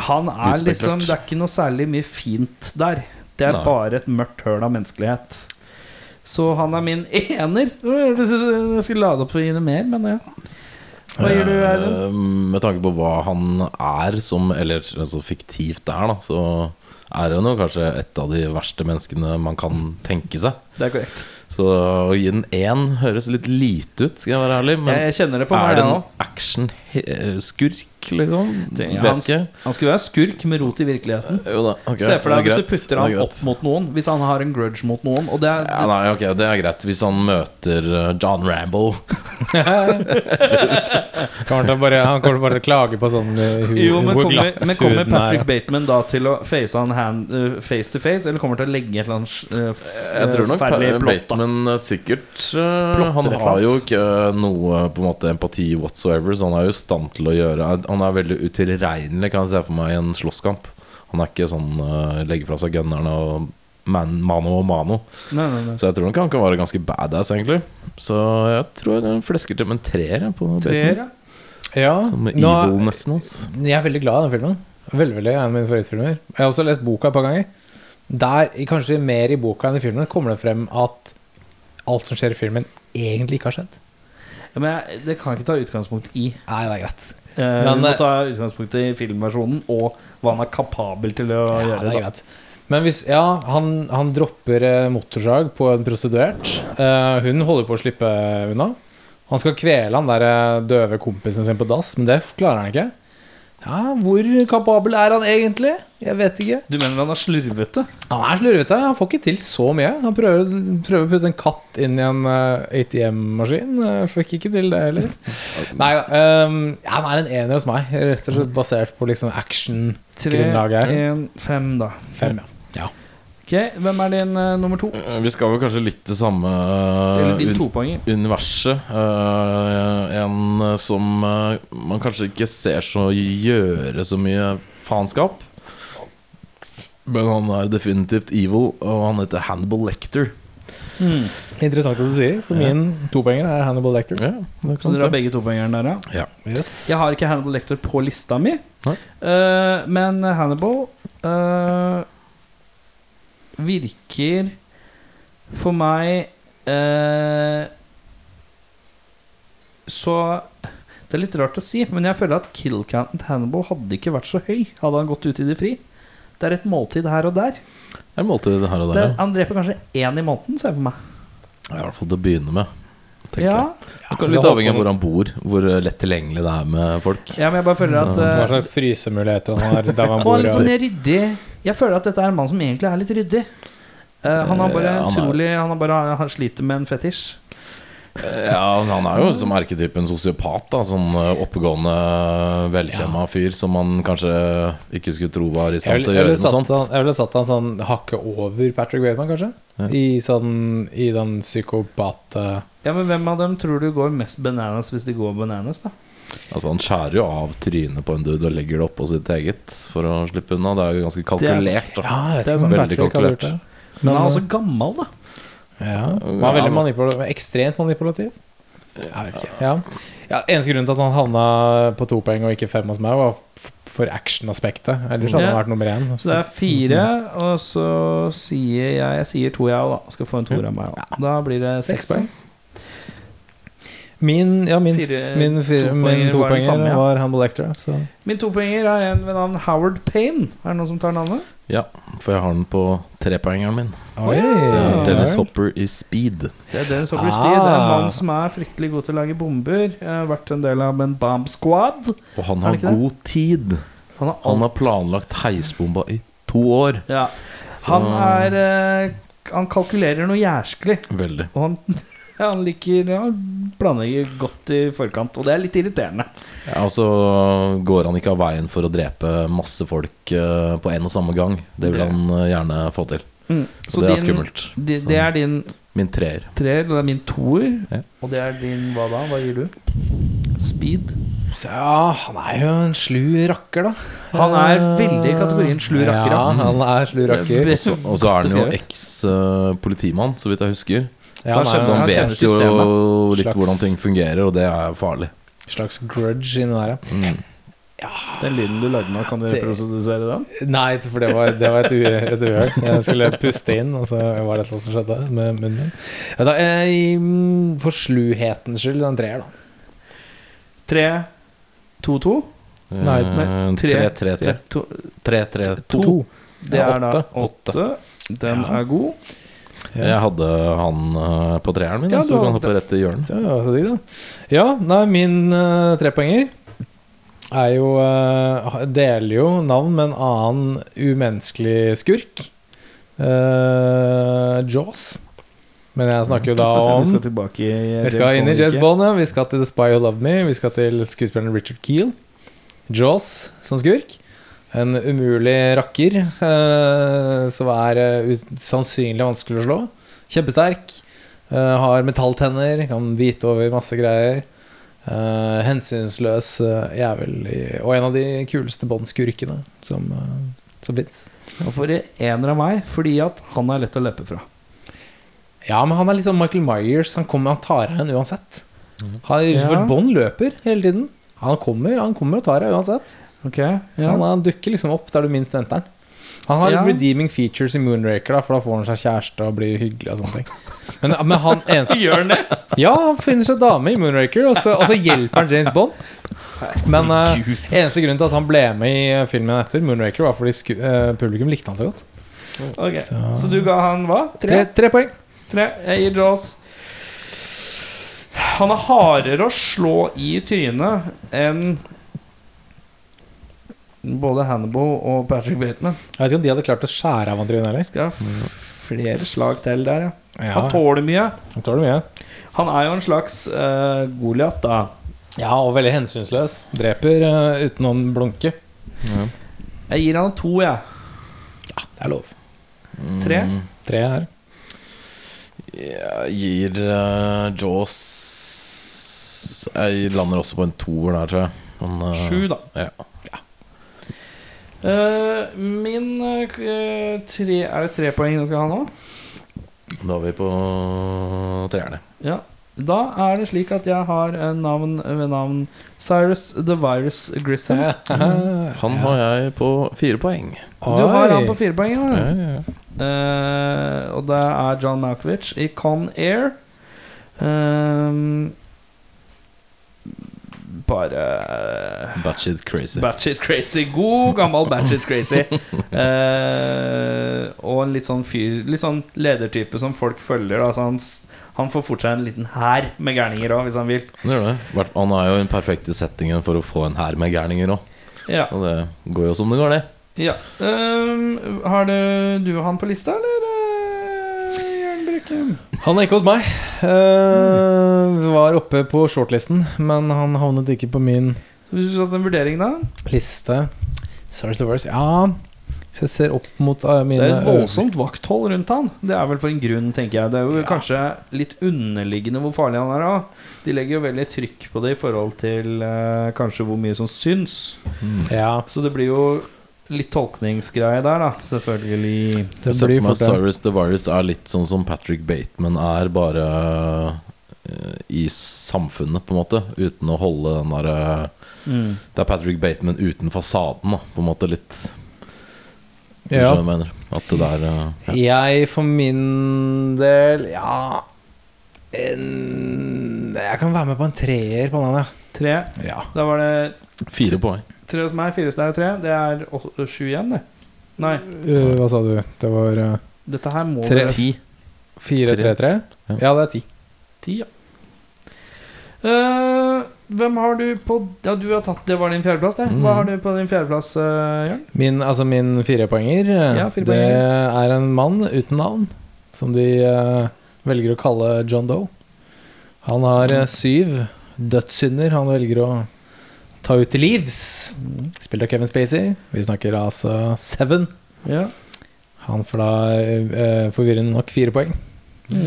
A: Han er
C: Utspekulert.
A: liksom Det er ikke noe særlig mye fint der. Det er
C: Nei.
A: bare et mørkt høl av menneskelighet. Så han er min ener. Jeg skulle lade opp for å gi det mer, men ja. Hva gir du, Erlend?
C: Eh, Med tanke på hva han er som, eller altså fiktivt er, da, så er han jo kanskje et av de verste menneskene man kan tenke seg.
A: Det er korrekt.
C: Så å gi den én høres litt lite ut, skal jeg være ærlig. Men
A: jeg kjenner det på
C: er
A: meg
C: det en
A: òg.
C: action-skurk, liksom?
A: Det- han-
C: Vet ikke.
A: Han skulle være skurk med rot i virkeligheten.
C: Jo da, ok.
A: Se for deg hvis
C: det er
A: du
C: greit,
A: putter
C: det
A: han
C: er
A: opp
C: greit.
A: mot noen. Hvis han har en grudge mot noen. Og det er,
C: ja, nei, ok, Det er greit hvis han møter eh, John Rambo.
D: Kommer til å bare, han kommer bare til å klage på sånn eh, hu,
A: jo, men
D: hvor
A: kommer,
D: glatt
A: men kommer
D: huden er.
A: Patrick Bateman da til å face han hand, eh, face to face, eller kommer han til å legge et eller annet eh, f-
C: Jeg tror nok
A: ferdig plott, da?
C: Bateman eh, sikkert eh,
A: Plotter
C: Han
A: et eller
C: har jo
A: annet.
C: ikke eh, noe på en måte empati whatsoever, så han er jo i stand til å gjøre Han er veldig utilregnelig, kan jeg se for meg, i en slåsskamp. Han er ikke sånn eh, legger fra seg gunnerne og man, mano og mano.
A: Nei, nei, nei.
C: Så jeg tror nok han kan være ganske badass, egentlig. Så jeg tror jeg flesker til med en treer jeg, på
A: Treer,
C: Bateman.
A: ja.
D: Ja,
C: Som
D: nå-
C: evil nesten hans.
D: Jeg er veldig glad i den filmen. Veldig, veldig, en av mine favorittfilmer Jeg har også lest boka et par ganger. Der, i- Kanskje mer i boka enn i filmen kommer det frem at alt som skjer i filmen, egentlig ikke har skjedd.
A: Ja, Men jeg, det kan jeg ikke ta utgangspunkt i.
D: Nei, det er greit.
A: Eh, vi
D: Men,
A: må
D: eh,
A: ta utgangspunkt i filmversjonen og hva han er kapabel til å
D: Ja,
A: gjøre.
D: det er
A: da.
D: greit. Men hvis Ja, han, han dropper eh, motorsag på en prostituert. Eh, hun holder på å slippe unna. Han skal kvele han der eh, døve kompisen sin på dass, men det klarer han ikke. Ja, hvor kapabel er han egentlig? Jeg vet ikke.
A: Du mener han er slurvete?
D: Han er slurvete. Han får ikke til så mye. Han prøver, prøver å putte en katt inn i en eh, ATM-maskin. eh, Fikk ikke til det
C: <laughs>
D: heller. Nei, ehm, han er en ener hos meg, rett og slett basert på liksom
A: 3,
D: action-grunnlaget her.
A: 1, 5, da.
D: Fem, ja. ja.
A: Ok, Hvem er din eh, nummer to?
C: Eh, Vi skal vel kanskje litt til samme
A: Eller
C: eh,
A: din
C: un
A: topoenger?
C: universet. Eh, en eh, som eh, man kanskje ikke ser så gjøre så mye faenskap. Men han er definitivt evil, og han heter Hannibal Lector.
A: Mm.
D: Interessant at du sier, for min topoenger er Hannibal Lecter.
C: Ja,
A: Så
D: Sånn,
C: det kan
A: dere har
C: se.
A: begge topoengeren der, ja?
C: Ja.
D: Yes.
A: Jeg har ikke Hannibal Lector på lista mi,
C: Nei.
A: Eh, men Hannibal eh, virker for meg eh, Så Det er litt rart å si, men jeg føler at kill-counten til Hannibal hadde ikke vært så høy hadde han gått ut i det fri. Det er et måltid her og der.
C: Det er måltid her og
A: Det
C: der,
A: er,
C: ja.
A: han dreper kanskje én i måneden, ser jeg for meg.
C: I hvert fall til å begynne med. Tenker
A: Ja.
C: jeg. Det er Litt avhengig av hvor han bor, hvor eh, lett tilgjengelig det er med folk.
A: ja, men jeg bare føler at
D: Hva
A: eh,
D: slags frysemuligheter han har der man
A: Og <laughs> han
D: bor.
A: er litt
D: Og.
A: sånn ryddig. Jeg føler at dette er en mann som egentlig er litt ryddig. Eh, han har bare
C: Eh, han er-
A: utrolig Han har bare han sliter med en fetisj.
C: Ja, men han er jo som erketypen sosiopat. Da, sånn eh, oppegående, velkjemma fyr som man kanskje ikke skulle tro var i
D: Jeg
C: stand
D: ville-
C: til å
D: jeg
C: gjøre
D: ville
C: noe
D: satt
C: sånt.
D: han- jeg ville satt han sånn hakket over Patrick Bateman, kanskje.
C: Ja.
D: I, sånn, I den psykopat...
A: Ja, men hvem av dem tror du går mest bananas hvis de går bananas, da?
C: Altså, han skjærer jo av trynet på en dude og legger det oppå sitt eget for å slippe unna. Det er jo ganske kalkulert. Da.
D: Ja, jeg vet
C: Det
D: ikke om
C: er veldig
D: sånn Patrick hadde
C: kalkulert.
D: gjort det.
A: Men han er også gammel, da.
D: Ja. Han er veldig manipulativ, ekstremt manipulativ. Jeg vet ikke. Ja. Ja, eneste grunnen til at han havna på to poeng og ikke fem hos meg, var f- for action-aspektet. Ellers hadde
A: Ja.
D: han vært nummer én.
A: Så det er fire, og så sier jeg Jeg sier to, jeg òg, da. Skal få en toer av meg òg. Da blir det seks poeng.
D: Min, ja, min,
A: Fire-
D: min, fire,
A: topoenger
D: min
A: var den
D: topoenger
A: samme,
D: var,
A: ja.
D: Humble Lecture. Så.
A: Min topoenger er en ved navn Howard Payne. Er det noen som tar navnet?
C: Ja, for jeg har den på trepoengeren min.
D: Oi,
C: Det er
D: ja
C: Dennis
D: vel.
C: Hopper i Speed.
A: Det er Dennis
D: Ah.
A: Hopper Speed. Det er en mann som er fryktelig god til å lage bomber. Jeg har vært en del av en bomb squad.
C: Og han
A: Er
C: har
A: det ikke det?
C: god tid.
A: Han er
C: Han har planlagt heisbomba i to år.
A: Ja. Han er eh, Han kalkulerer noe jærskelig.
C: Veldig.
A: Og han, <laughs> han liker ja, planlegger godt i forkant. Og det er litt irriterende.
C: Ja, og så går han ikke av veien for å drepe masse folk eh, på en og samme gang. Det vil
A: Det-
C: han eh, gjerne få til.
A: Mm.
C: Så det er
A: din-
C: skummelt.
A: di- det er din
C: Min treer.
A: treer, og det er min toer.
C: Ja.
A: Og det er din hva da? Hva gir du? Speed.
D: Så ja, han er jo en slu rakker, da.
A: Han er
D: Eh,
A: veldig i kategorien slu rakker, ja.
D: Ja, han er slu rakker.
A: Det-
C: Også- Og så er han jo
A: Godt beskrevet.
C: eks-politimann, så vidt jeg husker.
D: Ja, han
A: Så
D: er
C: Så han
A: han kjenner
C: Sånn vet jo
A: systemet.
C: litt
D: Slags-
C: hvordan ting fungerer, og det er farlig.
D: en slags grudge inni der, ja.
A: Den lyden du lagde nå, kan du
D: Det-
A: reprodusere den?
D: Nei, for det var, det var et u- et uhell. Jeg skulle puste inn, og så var det et eller annet som skjedde med munnen min. Ja, da, eh, i, mm, for sluhetens skyld, den treer, da.
A: Tre, to, to. Mm. Nei,
C: Eh,
A: nei, tre.
C: 3-3-3.
A: To.
C: 3-3-2.
D: To.
A: Det
D: Ja,
A: er da
C: åtte.
A: åtte. Den
D: Ja.
A: er god.
C: Jeg hadde han eh, på treeren min,
A: Ja,
C: så
A: du
C: kan
A: hadde
C: hoppe rett i hjørnet.
D: Ja, ja, så digg, da. Ja, nei, min eh, trepoenger er jo eh, Deler jo navn med en annen umenneskelig skurk. Eh, Jaws. Men jeg snakker jo da om
A: Vi skal tilbake i eh,
D: Vi skal inn i
A: Bond-riket.
D: James Bond, ja. Vi skal til The Spy Who Loved Me. Vi skal til skuespilleren Richard Keel. Jaws som skurk. En umulig rakker eh, som er eh, usannsynlig vanskelig å slå. Kjempesterk. eh, har metalltenner, kan bite over masse greier. Eh, hensynsløs eh, jævel. i- Og en av de kuleste Bond-skurkene som, uh, som fins.
A: Og for ener av meg, fordi at han er lett å løpe fra.
D: Ja, men han er litt sånn Michael Myers. Han kommer, han tar deg igjen uansett. Han,
A: Ja.
D: For Bond løper hele tiden. Han kommer, han kommer og tar deg uansett.
A: Ok,
D: Så han, han dukker liksom opp der du minst venter han. Han har
A: Ja.
D: litt redeeming features i Moonraker, da, for da får han seg kjæreste og blir hyggelig og sånne ting. Men, men
A: <laughs>
D: han eneste
A: Gjør han det?
D: Ja, han finner seg dame i Moonraker, og så, og så hjelper han James Bond. Men eh, eneste grunnen til at han ble med i eh, filmen etter Moonraker, var fordi sku, eh, publikum likte han så godt.
A: Ok, Så,
D: Så-
A: du ga han hva?
D: Tre,
A: Tre?
D: tre poeng.
A: Tre. Jeg gir Jaws. Han er hardere å slå i trynet enn både Hannibal og Patrick Bateman.
D: Jeg vet ikke om de hadde klart å skjære av han trynet heller.
A: Skal ha f- flere slag til der, ja.
D: Ja,
A: Han tåler mye.
D: han tåler mye.
A: Han er jo en slags uh, Goliat, da.
D: Ja, og veldig hensynsløs. Dreper eh, uten å blunke.
A: Jeg gir han to, jeg.
D: Det er lov.
A: Tre.
D: Mm. Tre her.
C: Jeg gir eh, Jaws Jeg lander også på en toer der, tror jeg. Men, eh,
A: Sju, da.
C: Ja.
A: Eh, min eh, k- eh, tre Er det tre poeng jeg skal ha nå?
C: Da er vi på treerne.
A: Ja. Da er det slik at jeg har en navn ved navn Cyrus the Virus Grissom.
C: Eh, Han har jeg på fire poeng.
A: Du har han på fire poeng. Da.
C: Ja, ja, ja.
A: Eh, og det er John Malkovich Ehm, i Con Air. Eh, bare
C: Batshit crazy.
A: Batshit crazy. God gammel batshit crazy. Eh, og en litt sånn fyr Litt sånn ledertype som folk følger. Da. Så han, s- han får fort seg en liten hær med gærninger òg, hvis han vil.
C: Han gjør det. Hvert- Han er jo i den perfekte settingen for å få en hær med gærninger òg.
A: Ja,
C: Og det går jo som det går, det.
A: ja. Ehm, Har du, du han på lista, eller? eh, Jørn Brekke?
D: Han er ikke hos meg. Eh, var oppe på shortlisten, men han havnet ikke på min
A: Så Hvis du skulle hatt en vurdering, da?
D: liste. Sorry to verse. Ja, hvis jeg ser opp mot eh,
A: Det
D: mine
A: er et
D: øv-
A: voldsomt vakthold rundt han. Det er vel for en grunn, tenker jeg. Det er jo kanskje litt underliggende hvor farlig han er. Da. De legger jo veldig trykk på det i forhold til eh, kanskje hvor mye som syns.
D: Ja,
A: Så det blir jo litt tolkningsgreie der, da. Selvfølgelig.
D: det
C: Jeg ser
D: blir
C: for meg
D: fort det.
C: Cyrus the Virus er litt sånn som Patrick Bateman er, bare eh, i samfunnet, på en måte. Uten å holde den derre Det er Patrick Bateman uten fasaden, da, på en måte litt. Hvis du
D: Ja.
C: skjønner hva jeg mener. At det der eh,
D: Jeg for min del Ja en, Jeg kan være med på en treer på den,
A: Tre.
D: ja. ja.
A: Da var det
C: ja. Fire poeng.
A: tre hos meg, fire hos deg og tre. Det er åt- sju igjen, det. Nei,
D: Eh, hva sa du? Det var eh,
A: dette her må
D: Tre.
A: dere-
C: Ti.
D: fire,
C: Tre.
D: tre, tre?
C: Ja.
D: Ja, det er ti.
A: Ti, ja. Eh, hvem har du på Ja, du har tatt Det var din fjerdeplass, det.
C: Mm.
A: Hva har du på din fjerdeplass, eh, Jørn?
D: Min, altså min firepoenger
A: Ja,
D: ja,
A: firepoenger.
D: Det er en mann uten navn Som de eh, velger å kalle John Doe Han har eh, syv dødssynder Han velger å ta ut til livs Spilt av Kevin Spacey Vi snakker altså Seven
A: Ja.
D: Han får da eh, forvirrende nok fire poeng
A: Mm.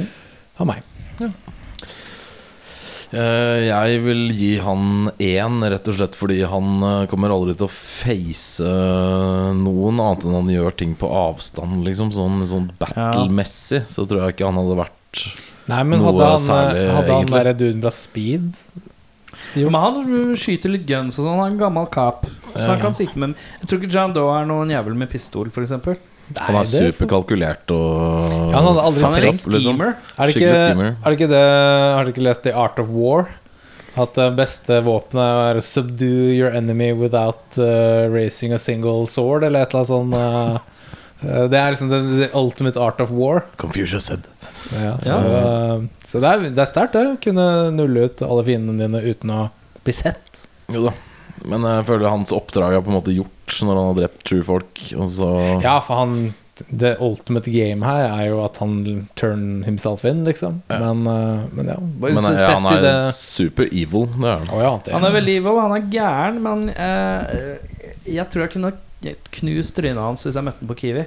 D: Av meg
C: Eh, jeg vil gi han én, rett og slett fordi han eh, kommer aldri til å face eh, noen, annet enn han gjør ting på avstand, liksom. Sånn, sånn battle-messig, så tror jeg ikke han hadde vært
D: Nei, men
C: Noe
D: hadde han, eh,
C: særlig,
D: hadde han
C: egentlig.
D: der duden fra Speed
A: Jo. Men han skyter litt guns og sånn. Han er en gammel cop. Så han
C: Ja.
A: kan sitte med Jeg tror ikke John Doe er noen jævel med pistol, f.eks.
C: Han er
D: Nei, det-
C: superkalkulert og
D: Ja, han hadde aldri
A: Han er en
C: fucked up, liksom.
A: schemer.
D: Er det, ikke,
C: Skikkelig skimmer.
D: er det ikke det Har du ikke lest The Art of War? At det beste våpenet er 'subdue your enemy without uh, raising a single sword', eller et eller annet sånt. uh, uh, det er liksom the, the ultimate art of war.
C: Confucius said.
D: Så, uh, så det er, det er sterkt, det. Å kunne nulle ut alle fiendene dine uten å bli sett.
C: Jo da. Men jeg føler hans oppdrag er på en måte gjort når han har drept true folk, og så
D: Ja, for han The ultimate game her er jo at han turn himself in, liksom.
C: Ja.
D: Men, uh, men ja. Bare
C: Men eh,
D: sett
C: han
D: i
C: er
D: det
C: super evil, det er han.
D: Å ja, det
A: Han er veldig evil, han er gæren, men eh, jeg tror jeg kunne knust trynet hans hvis jeg møtte ham på Kiwi.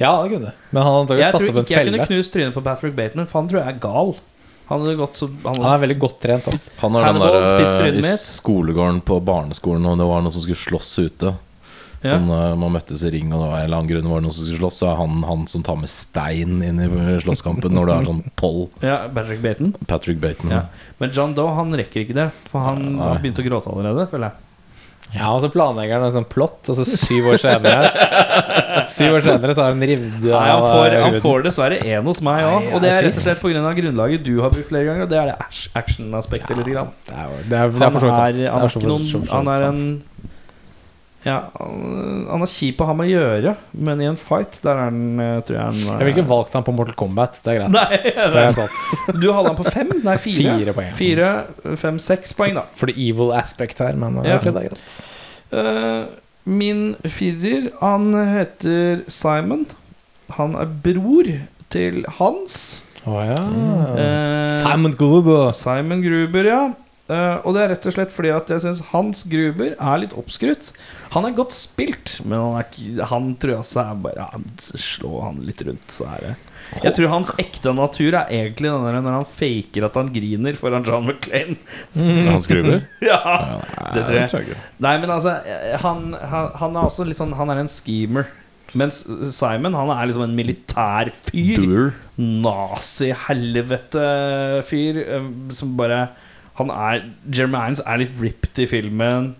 D: Ja, det kunne det. Men han har
A: Jeg
D: antakelig
A: tror
D: satt
A: ikke
D: opp en
A: jeg kunne
D: felle.
A: knust trynet på Patrick Bateman, for han tror jeg er gal. Han hadde gått så han
D: Han er veldig godt trent. Da.
C: Han er den
A: Hannibal spiste
C: der eh,
A: trynet
C: i
A: mitt.
C: skolegården på barneskolen, og det var noen som skulle slåss ute.
A: Ja.
C: Sånn, eh, man møttes i ring, og det var en eller annen grunn det var noen som skulle slåss, så er han han som tar med stein inn i slåsskampen når det er sånn tolv.
A: Ja, Patrick Bateman.
C: Patrick
D: Mm.
C: Bateman.
A: Ja. Men John Doe han rekker ikke det, for han,
C: Nei.
A: han begynte å gråte allerede, føler jeg.
D: Ja, og så planlegger han en sånn plott, og så syv år <laughs> senere Syv år senere så har han revet
A: Nei, han,
D: av
A: får, han
D: huden.
A: får dessverre én hos meg òg,
D: Nei,
A: og det
D: ja,
A: er rett og
D: trist.
A: slett pga. grunnlaget du har brukt flere ganger, og det er det ash- action-aspektet. lite grann.
D: Det er jo- det er, det er
A: Han
D: for
A: er,
D: så vidt
A: han
D: sant.
A: er,
D: Det er så
A: ikke
D: for- så
A: noen,
D: for så
A: han
D: vidt
A: er
D: sant.
A: en Ja, han han er kjip å ha med å gjøre, men i en fight, der er han eh, tror jeg han
D: Jeg ville ikke valgt han på Mortal Kombat, det er greit.
A: Nei, <laughs>
D: Det er sant.
A: Du hadde han på fem? Nei, fire.
D: Fire poeng.
A: Fire, fem, seks poeng, da.
D: For the evil aspect her, men
A: Ja.
D: ok, det er greit.
A: Eh, min firer, han heter Simon. Han er bror til Hans.
D: Å ja.
A: Eh,
D: Simon Gruber.
A: Simon Gruber, ja. Eh, og det er rett og slett fordi at jeg syns Hans Gruber er litt oppskrytt. Han er godt spilt, men han, er, ikke- han tror jeg også er bare ja, Slå han litt rundt, så er det Jeg tror hans ekte natur er egentlig den der når han faker at han griner foran John McClain.
C: Han skruver?
A: <laughs>
D: <laughs>
A: ja. Det tror jeg.
C: ikke.
A: Nei, men altså, eh, han, han, han er også litt sånn Han er en schemer. Mens Simon han er liksom en militær fyr
C: Doer.
A: nazi-helvete-fyr eh, som bare Han er Jeremy Irons er litt ripped i filmen.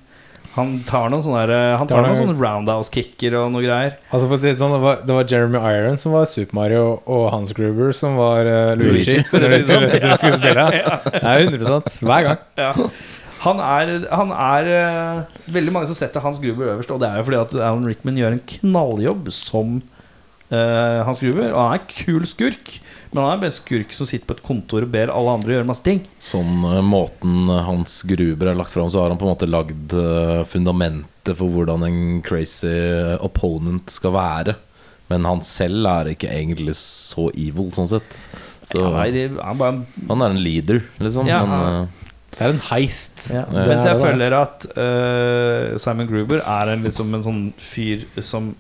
A: Han tar noen sånne, der, eh, han tar
D: Det
A: noen
D: er-
A: sånne roundhouse-kicker og noe greier.
D: Altså for å si det sånn, det var, det var Jeremy Iron som var Super Mario, og Hans Gruber som <laughs> var eh, Luigi.
C: Luigi,
A: <laughs>
D: Når du- når du skulle spille. Det er 100 hver gang.
A: Ja. Han er, han er eh, Veldig mange som setter Hans Gruber øverst, og det er jo fordi at Alan Rickman gjør en knalljobb som eh, Hans Gruber. Og han er kul skurk, men han er bare en skurk som sitter på et kontor og ber alle andre gjøre masse ting.
C: Sånn eh, måten Hans Gruber er lagt fram, så har han på en måte lagd eh, fundamentet for hvordan en crazy eh, opponent skal være. Men han selv er ikke egentlig så evil, sånn sett. Så
A: Ja, nei, det er bare
C: han er en leader, liksom.
A: Ja,
C: men,
A: ja.
C: eh,
D: Det er en heist.
A: Ja.
D: Det
A: Mens
D: er
A: jeg
D: det.
A: føler at eh, Simon Gruber er en, liksom en sånn fyr som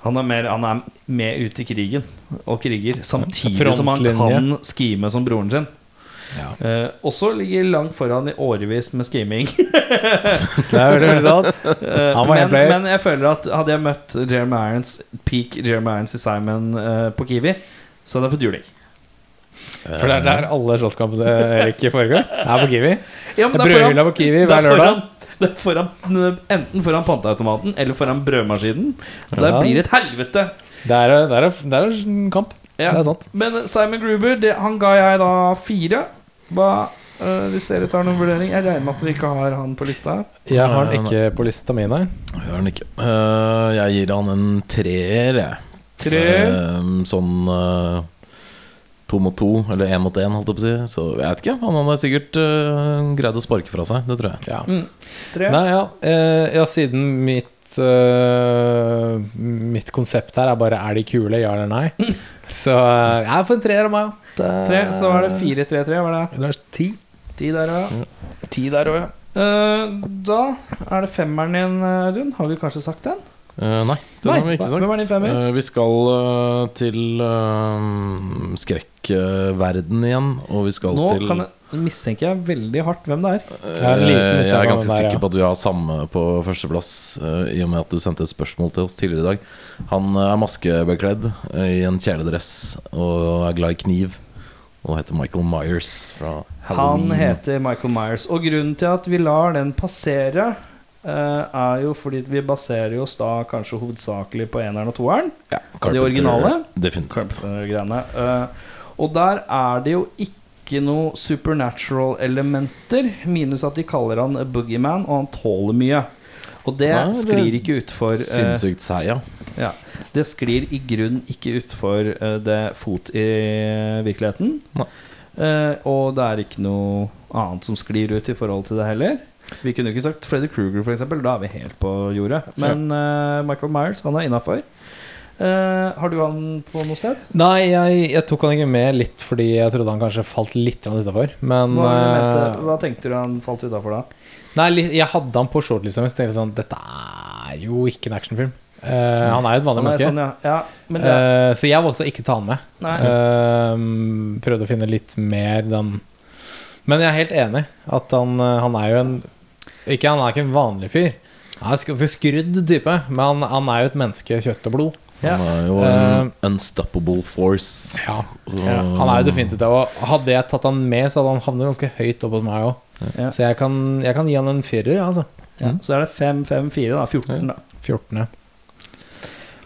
A: han er, mer, han er med ut i krigen og kriger, samtidig som han kan
D: Frontlinje.
A: skime som broren sin.
D: Ja.
A: Eh, også ligger langt foran i årevis med
D: <laughs>
A: skiming.
D: Det er veldig, veldig
A: <laughs>
D: sant.
A: Eh,
D: Han var en
A: men,
D: player.
A: men jeg føler at hadde jeg møtt Jeremy Irons, peak Jeremy Irons i Simon eh, på Kiwi, så hadde jeg fått juling.
D: For det er der alle slåsskampene Erik foregår. Er på Kiwi.
A: Ja,
D: Det er brødhylla på Kiwi hver lørdag.
A: det er foran, eh, enten foran panteautomaten eller foran brødmaskinen. Så det
D: Ja.
A: blir et helvete.
D: Det er, det er, det er en kamp.
A: Ja.
D: Det er sant.
A: Men Simon Gruber, det, han ga jeg da fire. Hva, eh, hvis dere tar noen vurdering Jeg regner med at dere ikke har han på lista.
D: Jeg har den ikke på lista mi, nei.
C: Jeg Gjør han ikke. Eh, jeg gir han en treer, jeg.
A: Tre
C: Eh, sånn eh, to mot to, eller én mot én, holdt jeg på å si. Så jeg vet ikke. Han har sikkert eh, greid å sparke fra seg, det tror jeg.
D: Ja.
A: Tre.
D: Nei, ja. eh, ja, siden mitt eh, Mitt konsept her er bare 'er de kule', ja
A: <laughs>
D: eller nei. Så eh, jeg får en treer av meg. Det er-
A: Tre, så var det fire, tre, tre. Var det?
D: Det er ti.
A: Ti der, ja.
D: Mm. Ti der òg, ja.
A: Eh, da er det femmeren din, Audun. Har vi kanskje sagt den?
C: Eh, nei, det
A: Nei,
C: har vi ikke sagt.
A: hvem er din femmer?
C: Eh, vi skal eh, til eh, skrekkverden igjen, og vi skal
A: Nå
C: til
A: kan jeg, mistenker jeg veldig hardt hvem det er.
C: Eh,
D: Jeg er en liten
C: jeg
D: mistenker
C: er
D: om
C: ganske
D: det der, ja.
C: sikker på at vi har samme på førsteplass, eh, i og med at du sendte et spørsmål til oss tidligere i dag. Han eh, er maskebekledd eh, i en kjeledress og er glad i kniv. Og heter Michael Myers fra Halloween.
A: Han heter Michael Myers. Og grunnen til at vi lar den passere, eh, er jo fordi vi baserer oss da kanskje hovedsakelig på eneren og toeren.
C: ja,
A: de originale?
C: Definitivt.
A: Carpenter-greiene. Eh, og der er det jo ikke noe supernatural-elementer, minus at de kaller han a boogeyman, og han tåler mye. Og det
C: Nei, det-
A: sklir ikke utfor eh,
C: Sinnssykt seig, ja.
A: ja, Det sklir i grunn ikke utfor eh, det fot i virkeligheten.
C: Nei.
A: Eh, og det er ikke noe annet som sklir ut i forhold til det heller. Vi kunne jo ikke sagt Freddy Kruger, f.eks. Da er vi helt på jordet. Men eh, Michael Myers, han er innafor. Eh, har du han på noe sted?
D: Nei, jeg, jeg tok han ikke med litt fordi jeg trodde han kanskje falt litt utafor. Men
A: Hva, mente,
D: eh,
A: hva tenkte du han falt utafor da?
D: Nei, li- jeg hadde han på shortlista mi, så tenkte jeg sånn Dette er jo ikke en actionfilm. Eh, han er jo et
A: Han
D: vanlig
A: er
D: menneske.
A: sånn, ja. ja men det,
D: Eh, så jeg valgte å ikke ta han med.
A: nei.
D: Ehm, prøvde å finne litt mer den Men jeg er helt enig at han, eh, han er jo en ikke, Han er ikke en vanlig fyr. Han er en ganske skrudd type, men han, han er jo et menneske i kjøtt og blod.
A: Ja. Eh,
C: Han er jo en unstoppable force.
D: Ja.
C: Så-
D: Han
C: Ah.
D: er jo definitivt det. Og hadde jeg tatt han med, så hadde han havnet ganske høyt opp hos meg òg.
A: Ja.
D: Så jeg kan, jeg kan gi han en firer, ja, altså.
A: Ja. Så er det 5-5-4, da. 14, da.
D: 14.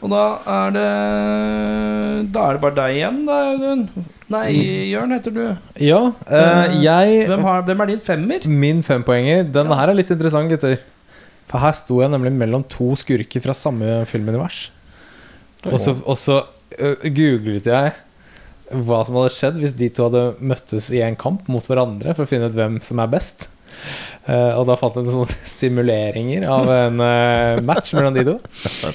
A: Og da er det Da er det bare deg igjen, da, Audun. Nei, Jørn heter du.
D: Ja, eh,
A: Eh,
D: jeg
A: Hvem, har, hvem er din femmer?
D: Min fempoenger. Denne her er litt interessant, gutter. For her sto jeg nemlig mellom to skurker fra samme filmunivers. Og så, og så øh, googlet jeg hva som hadde skjedd hvis de to hadde møttes i en kamp mot hverandre for å finne ut hvem som er best. Eh, og da fant jeg noen <laughs> sånne simuleringer av en eh, match mellom de to.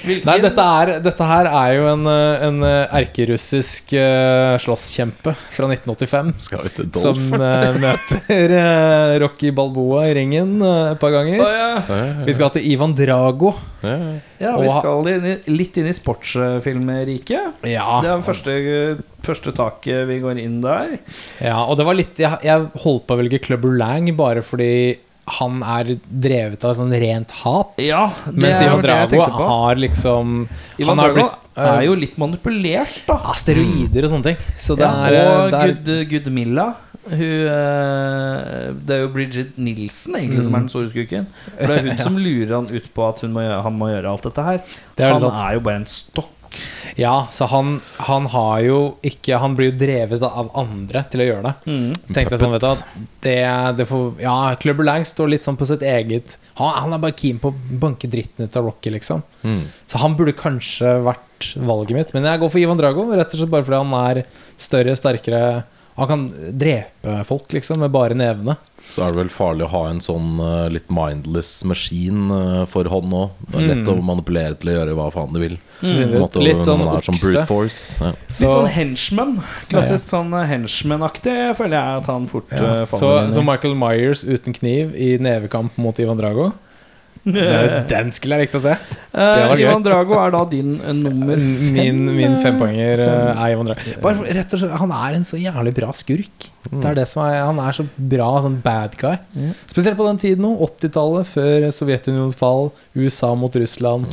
A: Hvilken?
D: Nei, dette, er, dette her er jo en, eh, en eh, erkerussisk eh, slåsskjempe fra 1985.
C: Skal vi til
D: Som
C: Dolph?
D: eh,
A: <laughs>
D: møter eh, Rocky Balboa i ringen eh, et par
A: Å,
D: ganger.
A: ja.
C: Ja,
D: Vi skal til Ivan Drago.
C: ja, ja.
A: ja, vi
D: Og ha-
A: skal inn i, litt inn i sportsfilmeriket.
D: Ja,
A: Det er første, første taket vi går inn der.
D: ja og det var litt Jeg, jeg holdt på å velge Clubber Lang bare fordi han er drevet av sånn rent hat.
A: Ja, det
D: mens
A: er jo det
D: Ivan
A: jeg
D: Drago
A: tenkte på.
D: har liksom
A: Ivan
D: han har
A: Drago
D: blitt, eh,
A: er jo litt manipulert, da.
D: ja, steroider og sånne ting. Så det
A: Ja,
D: er, eh,
A: og
D: det er
A: Gud, Gudmilla. Hun, eh, det er jo Bridget Nilsen egentlig som er
D: Mm.
A: den store skurken.
D: <laughs>
A: For det er hun som lurer han ut på at hun må gjøre, han må gjøre alt dette her.
D: Det er
A: han
D: det sant.
A: er jo bare en stokk
D: Ja, så han, han har jo ikke Han blir jo drevet av andre til å gjøre det.
C: Mm.
D: Så tenkte jeg sånn, vet du hva, det, det får Ja, Clubber Lang står litt sånn på sitt eget Han, han er bare keen på å banke dritten ut av Rocky, liksom.
C: Mm.
D: Så han burde kanskje vært valget mitt. Men jeg går for Ivan Drago, rett og slett bare fordi han er større, sterkere Han kan drepe folk, liksom, med bare nevene.
C: Så er det vel farlig å ha en sånn eh, litt mindless maskin eh, for hånd òg. Det er lett
A: Mm.
C: å manipulere til å gjøre hva faen du vil. På en måte,
D: Litt sånn
C: når man er som
D: okse.
C: brute force. Ja.
D: Så,
A: Litt sånn henchman. Klassisk sånn eh, henchman-aktig føler jeg at han fort
D: ja.
A: eh,
D: så,
A: faller
D: så
A: inn i.
D: Michael Myers uten kniv i nevekamp mot Ivan Drago.
A: <laughs>
D: Det- Den skulle jeg likt å se.
A: Eh,
D: var gøy. Mm.
A: Ivan Drago er da din eh, nummer fem.
D: Min, min fempoenger eh, er Ivan Drago. Bare for- rett og slett, han er en så jævlig bra skurk. Det er det som er, han er så bra sånn bad guy. Spesielt på den tiden nå. 80-tallet, før Sovjetunionens fall. USA mot Russland.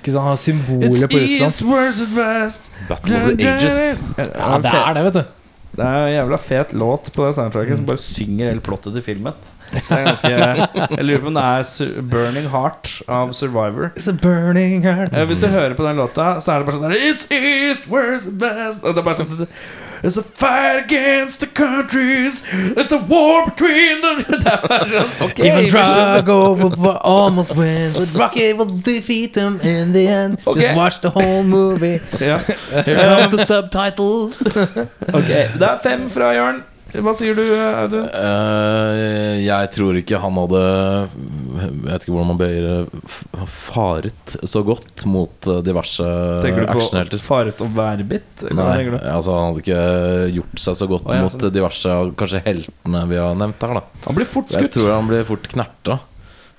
D: Ikke sant, Han har
A: It's
D: symbolet på Russland.
A: East, where's it west?
C: Battle of the Ages.
D: Ja, det er det, vet du.
A: Det er en jævla fet låt på det soundtracket som bare synger hele plottet til filmen. Det er ganske, jeg lurer på om det er Sur- 'Burning Heart' av Survivor.
D: It's a burning heart.
A: Eh, Hvis du hører på den låta, så er det bare sånn der, It's east, where's the best Og det er bare sånn It's a fight against the countries It's a war between them <laughs> Det er bare sånn, ok
D: Even
A: vi skjønner.
D: Drago will will almost win, but Rocky will defeat him in the end.
A: Okay.
D: Just watch the whole movie.
A: ja.
C: Here comes the subtitles.
A: Ok, det er fem fra Jørn Hva sier du, Audun?
C: Eh, jeg tror ikke han hadde Jeg vet ikke hvordan man bøyer det, f- faret så godt mot eh, diverse
A: Tenker du på
C: actionhelter.
A: faret og værbitt? eller hva
C: Nei,
A: tenker du?
C: altså han hadde ikke gjort seg så godt
A: Å, ja,
C: mot
A: sånn.
C: diverse av kanskje heltene vi har nevnt her. da
A: Han blir fort
C: Jeg
A: skutt
C: tror han blir fort knerta.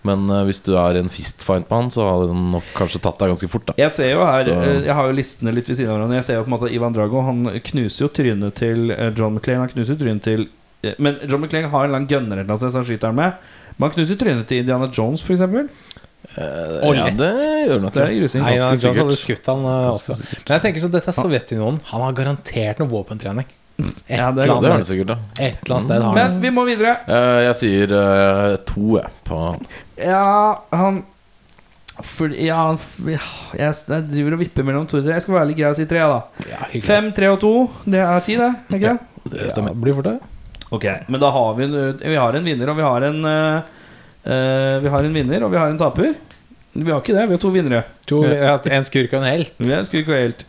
C: Men eh, hvis du er i en fistfight med han, så hadde han nok kanskje tatt deg ganske fort. da
A: Jeg ser jo her
C: Så-
A: eh, Jeg har jo listene litt ved siden av hverandre. Jeg ser jo på en måte at Ivan Drago Han knuser jo trynet til eh, John McClane. Han knuser jo trynet til eh, Men John McClane har en lang gunner eller noe sånt som han skyter han med. Men han knuser jo trynet til Indiana Jones, for eksempel
C: Eh,
D: Og
C: ja,
D: lett.
C: det gjør nok
A: Det er grusing.
D: Nei,
C: ganske
D: Johnson hadde
C: sikkert.
D: skutt han eh, også. Men jeg tenker så dette er Sovjetunionen. Han har garantert noe våpentrening. Et
A: Ja, det er
D: eller
C: Ja, det er
D: annet
C: det
D: sted.
C: sikkert, da.
D: Et eller annet sted har han
A: Men vi må videre.
C: Eh, jeg sier eh, to, jeg, på han.
A: Ja, han for, Ja, han f- ja, jeg, jeg driver og vipper mellom to og tre. Jeg skal være litt grei og si tre, da.
D: ja, hyggelig.
A: Fem, tre og to. Det er ti, det. Er ikke det?
C: Det stemmer.
D: Ja, blir fort det.
A: Ok, men da har vi en, vi har en vinner, og vi har en eh, eh, Vi har en vinner, og vi har en taper. Vi har ikke det, vi har to vinnere.
D: To, ja, en skurk og en helt.
A: Vi er skurk og helt.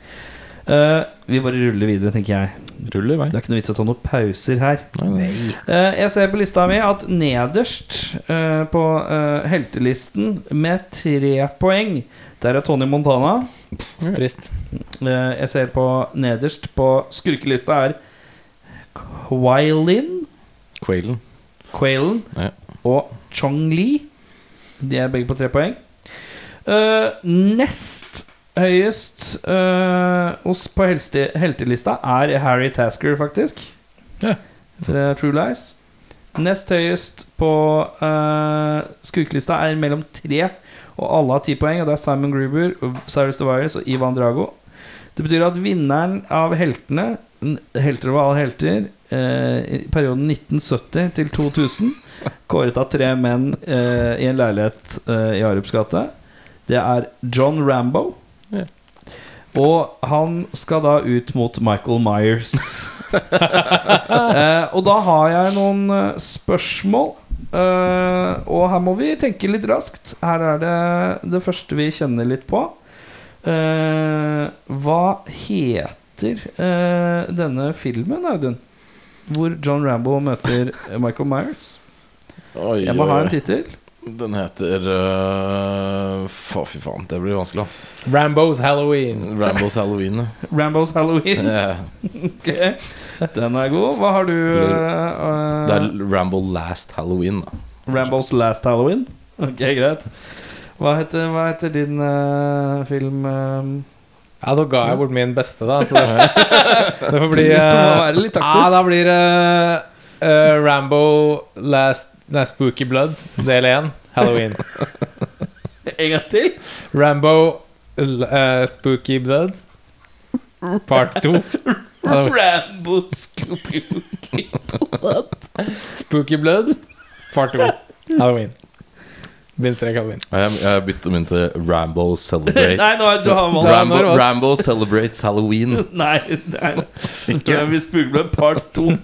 A: Eh, vi bare ruller videre, tenker jeg.
C: Ruller i vei.
A: Det er ikke noe vits å ta noen pauser her.
C: Nei, nei.
A: Eh, jeg ser på lista mi at nederst eh, på eh, heltelisten med tre poeng, der er Tony Montana.
D: Trist.
A: Eh, jeg ser på nederst på skurkelista er Quailin.
C: Quailen.
A: Quailen
C: Ja.
A: og Chong Li. De er begge på tre poeng. Eh, nest høyest eh, hos på helste, heltelista er Harry Tasker, faktisk.
D: Ja.
A: Fra True Lies. Nest høyest på eh, skurkelista er mellom tre, og alle har ti poeng. Og det er Simon Gruber, Cyrus DeVires og Ivan Drago. Det betyr at vinneren av heltene n- Helter over alle helter eh, I perioden 1970 til 2000 Kåret av tre menn eh, I en leilighet eh, i Arups gate Det er John Rambo
C: Ja.
A: Og han skal da ut mot Michael Myers eh, Og da har jeg noen eh, spørsmål eh, Og her må vi tenke litt raskt Her er det det første vi kjenner litt på Eh, hva heter eh, denne filmen, Audun? Hvor John Rambo møter Michael Myers.
C: Oi,
A: Jeg må ha
C: oi,
A: en tittel.
C: Den heter øh, fa, Fy faen, det blir vanskelig, ass.
D: Rambos Halloween.
C: Rambos Halloween. ja.
A: Rambos Halloween.
C: Eh,
A: <laughs> Ok. Den er god. Hva har du? eh,
C: Det er Rambo Last Halloween, da.
A: Rambos Last Halloween. Ok, greit. Hva heter, hva heter din eh, film eh?
D: Ja, da ga jeg bort min beste, da. Så det,
A: <laughs>
D: det får bli
A: Det må
D: eh,
A: være litt taktisk.
D: Ja, da blir det eh, Rambo Last Nei, Spooky Blood, del én, Halloween.
A: En gang til?
D: Rambo eh, Spooky Blood, part to. Halloween.
A: Rambo Scooby-Doo.
D: Spooky Blood, part to. Halloween. Bindestrek Alvin.
C: Og Jeg, jeg bytter min til Rambo Celebrate.
A: Nei, nå er, du har valgt
D: Nei,
C: Rambo,
D: nå er det valgt.
C: Rambo Celebrates Halloween.
A: Nei, nei. Ikke. Vi spugler part to.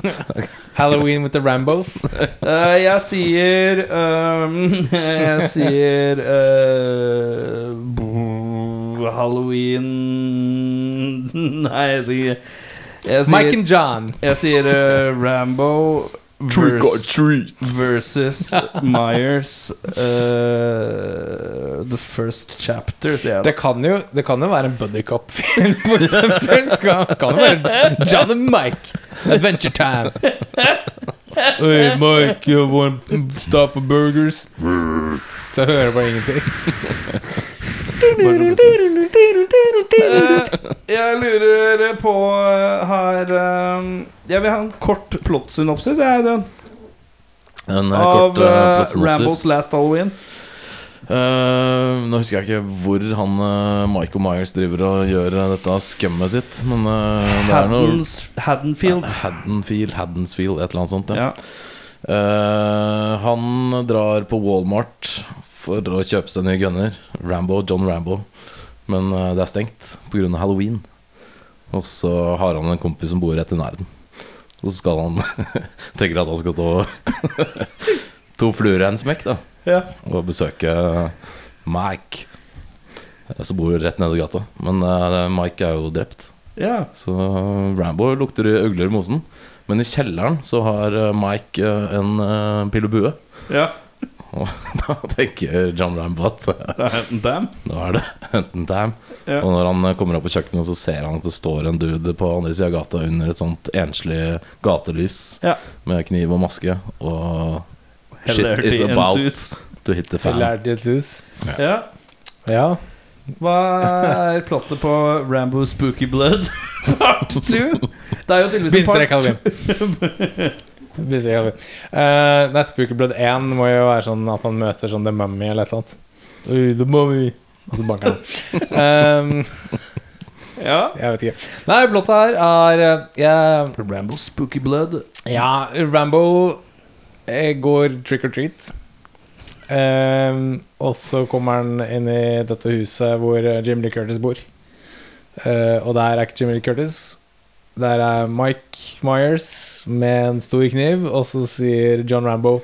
D: Halloween with the Rambos.
A: Eh, jeg sier ehm, <laughs> Jeg sier eh, bo- Halloween <laughs> Nei, jeg sier Jeg
D: Mike
A: sier,
D: and John.
A: jeg sier eh, Rambo
C: Trick or
A: vers-
C: treat.
D: <laughs>
A: versus Myers eh, The First Chapter, sier jeg.
D: Det kan jo, det kan jo være en buddycop-film, for eksempel. Skal, kan jo være John and Mike. Adventure time. Hey, Mike, you want stop for burgers? Så jeg hører bare ingenting.
A: Eh, jeg lurer på eh, her eh, Jeg vil ha en kort plottsynopsis. Jeg, Audun,
C: En eh,
A: av
C: kort eh,
A: eh,
C: plottsynopsis.
A: Rambles Last Halloween.
C: Eh, nå husker jeg ikke hvor han eh, Michael Myers driver og gjør eh, dette skummet sitt, men eh, det er noe
A: Haddens, Haddonfield.
C: Haddonfield, Haddonsfield, et eller annet sånt. Ja.
A: Ja.
C: Eh, han drar på Walmart for å kjøpe seg nye gunner. Rambo, John Rambo. Men eh, det er stengt pga. halloween. Og så har han en kompis som bor rett i nærheten. Og så skal han <laughs> tenker at han skal stå <laughs> to fluer i en smekk, da.
A: Ja.
C: Og besøke Mike, eh, som bor rett nede i gata. Men eh, Mike er jo drept.
A: ja.
C: Så Rambo lukter øgler i mosen. Men i kjelleren så har eh, Mike eh, en eh, pil og bue. <laughs>
A: ja.
C: Og da tenker John Rambo at eh,
A: Det er enten dem.
C: nå er det enten time.
A: Ja.
C: Og når han eh, kommer opp på kjøkkenet, så ser han at det står en dude på andre sida av gata under et sånt enslig gatelys
A: Ja.
C: med kniv og maske. Og shit
A: Hilarity
C: is about
A: ensues.
C: to hit the fan.
D: Lærdighetshus.
A: Ja.
D: Ja.
A: Hva er plottet på Rambo Spooky Blood part 2? Det er jo tydeligvis en
D: Bindestrek
A: part.
D: Alvin. Bindestrek Alvin. Eh, nei, Spooky Blood 1 må jo være sånn at han møter sånn The Mummy eller et eller annet. Oi, the Mummy. Og så banker <laughs> han. Eh,
A: Ja.
D: jeg vet ikke. Nei, blotta her er eh, jeg,
A: Rambo Spooky Blood.
D: Ja, Rambo eh, går trick or treat. Eh, og så kommer han inn i dette huset hvor eh, Jim Lee Curtis bor. Eh, og der er ikke Jim Lee Curtis. Der er Mike Myers med en stor kniv, og så sier John Rambo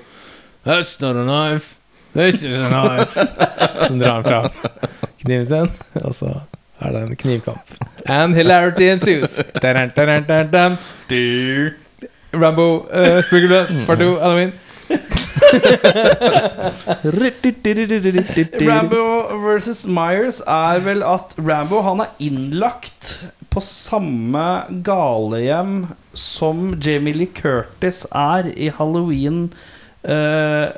D: That's not a knife. This is a knife. Som drar han fram kniven sin, og så er det en knivkamp. And hilarity ensues. Taran, taran, taran, taran. Rambo, uh, Spookerblad, part two, Halloween.
A: Rambo versus Myers er vel at Rambo han er innlagt på samme galehjem som Jamie Lee Curtis er i Halloween eh,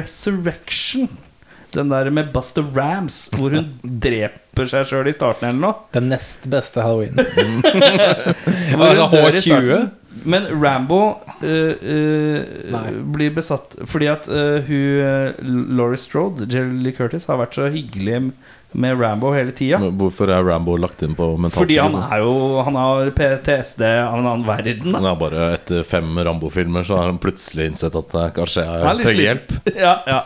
A: Resurrection. Den der med Buster Rams, hvor hun dreper seg sjøl i starten eller noe.
D: Den nest beste Halloween. <laughs>
A: Hvor hun
D: altså
A: dør i
D: H20?
A: starten. Men Rambo eh, eh,
D: Nei.
A: blir besatt fordi at eh, hun eh, Laurie Strode, Jelly Curtis, har vært så hyggelig med Rambo hele tida.
C: Men Hvorfor er Rambo lagt inn på
A: Fordi han
C: mentalsykehuset?
A: er jo Han har PTSD av en annen verden.
C: Han
A: da.
C: er bare etter fem Rambo-filmer så har han plutselig innsett at eh, kanskje
A: Han er
C: jeg
A: litt
C: trenger hjelp.
A: sliten. <laughs> ja, ja.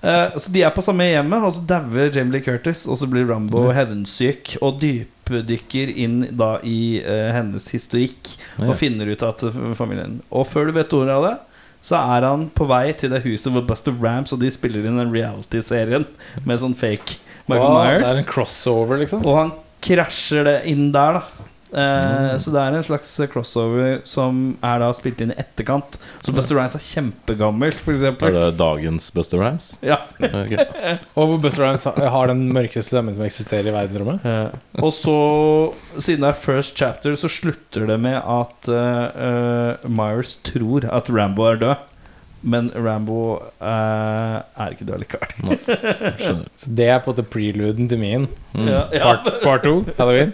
A: Eh, så de er på samme hjemmet, og så dauer Jamie Lee Curtis, og så blir Rambo
C: Mm.
A: hevnsyk og dypdykker inn da i eh, hennes historikk
C: Ja.
A: og finner ut at eh, familien Og før du vet ordet av det, så er han på vei til det huset hvor Buster Rams og de spiller inn den reality-serien med sånn fake Michael
D: Wow, det er en
A: Myers.
D: crossover, liksom.
A: Og han krasjer det inn der, da.
C: Mm.
A: Eh, Så det er en slags crossover som er da spilt inn i etterkant. Så Buster Rhymes er kjempegammel, f.eks.
C: Er det dagens Buster Rams?
A: Ja.
C: Eh, Ok.
D: Og hvor Buster Rhymes har den mørkeste stemmen som eksisterer i verdensrommet.
C: Eh.
A: Og så, siden det er first chapter, så slutter det med at eh, eh, Myers tror at Rambo er død. Men Rambo eh, er ikke død likevel.
C: Skjønner.
D: Så det er på en måte preluden til min.
C: Mm.
A: Ja, ja.
D: Part, part two, Halloween.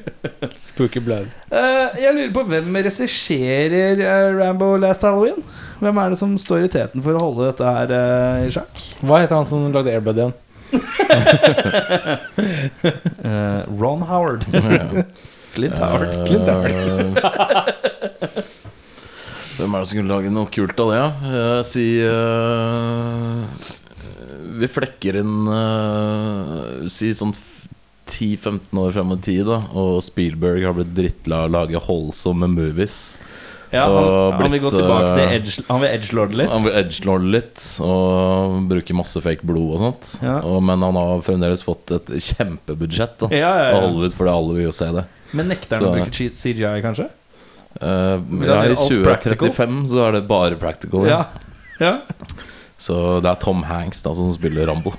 D: Spooky Blood.
A: Eh, jeg lurer på hvem regisserer eh, Rambo Last Halloween? Hvem er det som står i teten for å holde dette her eh, i sjakk?
D: Hva heter han som lagde Airbud igjen?
A: Eh, Ron Howard.
C: Ja.
A: <laughs> Clint Howard.
C: Eh,
A: Clint Howard.
C: Hvem er det som kunne lage noe kult av det, da? Ja? Eh, Si eh, vi flekker inn eh, Si sånn f- 10-15 år frem i tid, da. Og Spielberg har blitt drittla av å lage holdsomme movies.
A: Ja, han,
C: Og
A: han vil gå
C: blitt,
A: tilbake til
C: eh,
A: edge, Han vil edgelorde litt.
C: Han vil edgelorde litt og bruker masse fake blod og sånt.
A: Ja.
C: Og, men han har fremdeles fått et kjempebudsjett da,
A: Ja, ja,
C: av
A: ja.
C: Hollywood, fordi alle vil jo se det.
A: Men nekter han å
C: Så-
A: bruke cheat- CGI, kanskje?
C: Eh,
A: det
C: ja,
A: er
C: I
A: alt practical.
C: 2035 så er det bare practical.
D: Oh,
A: Ja.
C: Ja.
A: ja.
C: Så det er Tom Hanks da som spiller Rambo.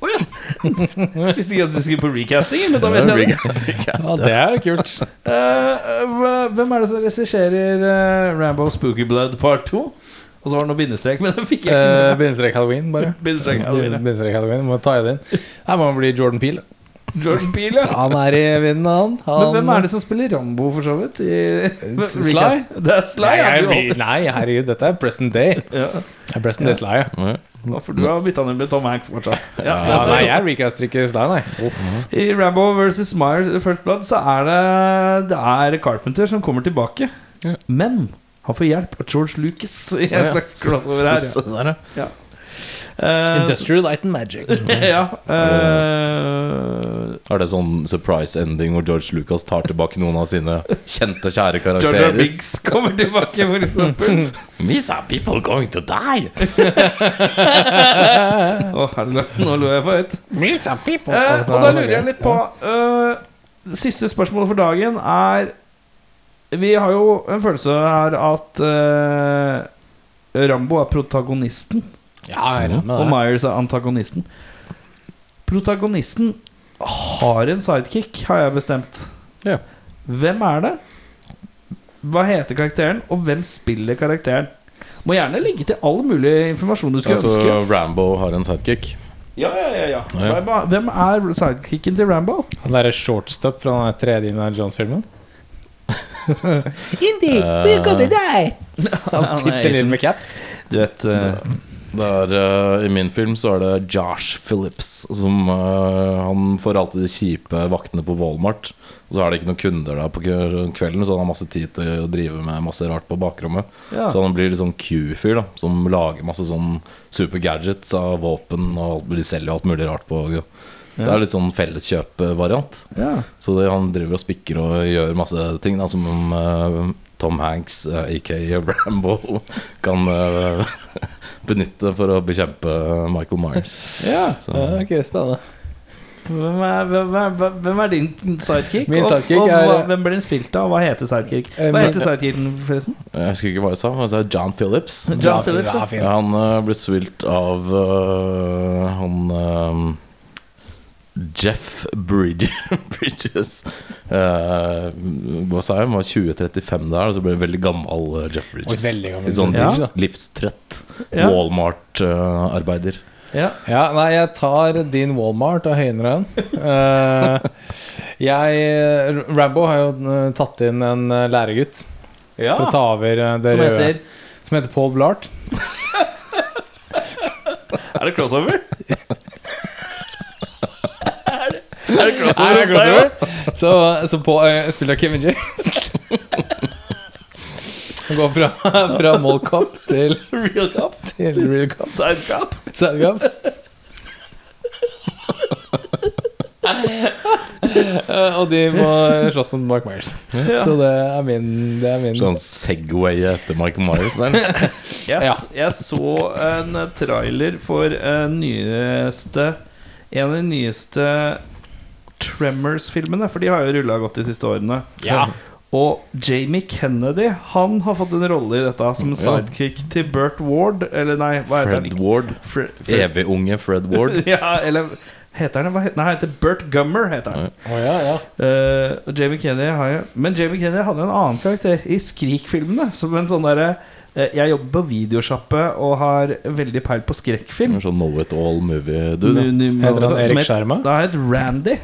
A: Visste ikke at du skulle på recasting, men <laughs> da
C: Det
A: vet
C: er
A: jeg det.
C: <laughs> recast- recast,
D: Ja, Ah, det er jo kult. <laughs>
A: Eh, hva- hvem er det som regisserer eh, Rambo Spooky Blood part 2? Og så var det noe bindestrek, <laughs> men det fikk jeg ikke.
D: Eh,
A: med meg.
D: Bindestrek halloween, bare.
A: Bindestrek, ja, det vil jeg.
D: Bindestrek halloween, Må ta i det inn. Her må man bli Jordan Peel. eh,
A: Jordan Peele, ja.
D: Han er i vinden, han. han
A: Men hvem er det som spiller Rambo, for så vidt? <laughs> I,
D: Eh, Sly?
A: recast? Det er Sly.
D: Nei,
A: ja, du-
D: jeg- nei, herregud, dette er present day.
A: ja.
D: Det er present day Sly, ja.
C: ja.
A: Nå får du ha bytta ned med Tom Hanks fortsatt. Ja,
C: Ja,
A: altså,
D: nei, jeg recaster ikke Sly, nei.
A: I Rambo vs. Myers eh, First Blood så er det, det er Carpenter som kommer tilbake.
C: Ja.
A: Men han får hjelp av George Lucas <laughs> i en slags crossover her.
C: Så- så- der, ja.
A: Ja. <laughs> Eh,
D: Industrial Light and Magic.
A: ja eh,
C: Er det sånn surprise ending hvor George Lucas tar tilbake noen av sine kjente, kjære
A: George R.
C: karakterer?
A: Biggs kommer tilbake, for eksempel.
C: These are people going to die!
A: Å, herre, nå lo jeg for høyt. Eh,
D: Altså,
A: og da
D: han er
A: lurer jeg
D: gøy.
A: litt på eh, det Siste spørsmål for dagen er Vi har jo en følelse her at eh, Rambo er protagonisten.
D: Ja, jeg regner med
A: Og
D: det.
A: Myers er antagonisten. Protagonisten har en sidekick, har jeg bestemt.
C: Ja.
A: Hvem er det? Hva heter karakteren, og hvem spiller karakteren? Må gjerne legge til all mulig informasjon du skulle ønske.
C: Altså, Rambo har en sidekick.
A: Ja, ja, ja, ja.
C: Ja, ja.
A: Hva- Hvem er sidekicken til Rambo?
D: Han derre shortstop fra den tredje Indiana Jones-filmen. Indy,
C: we're gonna
D: die! Han
A: Han er
D: bitte lille med caps.
A: Du vet eh,
C: Det er, eh, I min film så er det Josh Phillips som eh, Han får alltid de kjipe vaktene på Walmart. Og så er det ikke noen kunder der på kø- kvelden, så han har masse tid til å drive med masse rart på bakrommet.
A: Ja.
C: Så han blir litt sånn Q-fyr, da som lager masse sånn super gadgets av våpen. Og alt, de selger alt mulig rart på Det er litt sånn felleskjøpvariant.
A: ja.
C: Så det, han driver og spikker og gjør masse ting, da, som om eh, Tom Hanks, uh, aka Rambo, <laughs> kan eh, <laughs> benytte for å bekjempe Michael Myers.
A: ja.
C: Så,
D: Ja, ok, spennende.
A: Hvem, er, hvem, er, hvem er din sidekick?
D: Min
A: Og-
D: sidekick
A: og, hva-
D: er-
A: hvem blir den spilt av? og Hva heter sidekick?
D: Eh,
A: Hva
D: min-
A: heter sidekicken, forresten?
C: jeg husker ikke hva jeg sa, men jeg sa John Phillips.
A: John
D: Ja,
A: Phillips,
D: fin,
A: ja.
D: ja, fin.
C: Ja, han eh, ble spilt av eh, han eh, Jeff Bridge, <laughs> Bridges. Eh, hva sa jeg? Han var 2035 der, og så ble han veldig gammel eh, Jeff Bridges.
D: Oi, veldig gammel.
C: Litt sånn
A: Ja.
C: livs, livstrøtt
A: Ja. Mm.
C: Walmart-arbeider.
A: Ja.
D: Ja, nei, jeg tar din Walmart og høyner den. Eh, jeg Rambo har jo eh, tatt inn en eh, læregutt for å ta over eh, det
A: Som
D: røde
A: heter
D: Som heter Paul Blart.
A: Er det crossover?
C: Er det
D: Nei, det er crossover. Så, så på, eh, spiller jeg Kevin James. Han går fra, fra Mall Cop til,
A: Real cop?
D: til Real Cop.
A: Side cop?
D: Side Cop. Eh, og de må slåss mot Mark Myers. Så det er min, det er min
C: Sånn Segway etter Michael Myers der.
A: Yes,
D: Ja.
A: Jeg så en eh, trailer for en nyeste En av de nyeste Tremors-filmene, for de har jo rulla godt de siste årene.
D: Ja.
A: Og Jamie Kennedy Han har fått en rolle i dette som sidekick til Burt Ward. Eller nei, <laughs> hva heter
C: Fred
A: han?
C: Ward.
A: Fred, Fred.
C: Evig unge Fred
A: <laughs>
C: Ward.
A: Ja, eller heter han hva heter, Nei, han heter Burt Gummer. heter han
D: Å, ja, ja.
A: Eh, og Jamie Kennedy har jo Men Jamie Kennedy hadde jo en annen karakter i Skrik-filmene. Som en sånn derre eh, Jeg jobber på videosjappe og har veldig peil på skrekkfilm.
C: Sånn know it all movie-dude.
A: Nu- nu-
D: Heter han
A: som
D: Erik
A: het-
D: Skjerma?
A: Da het Randy.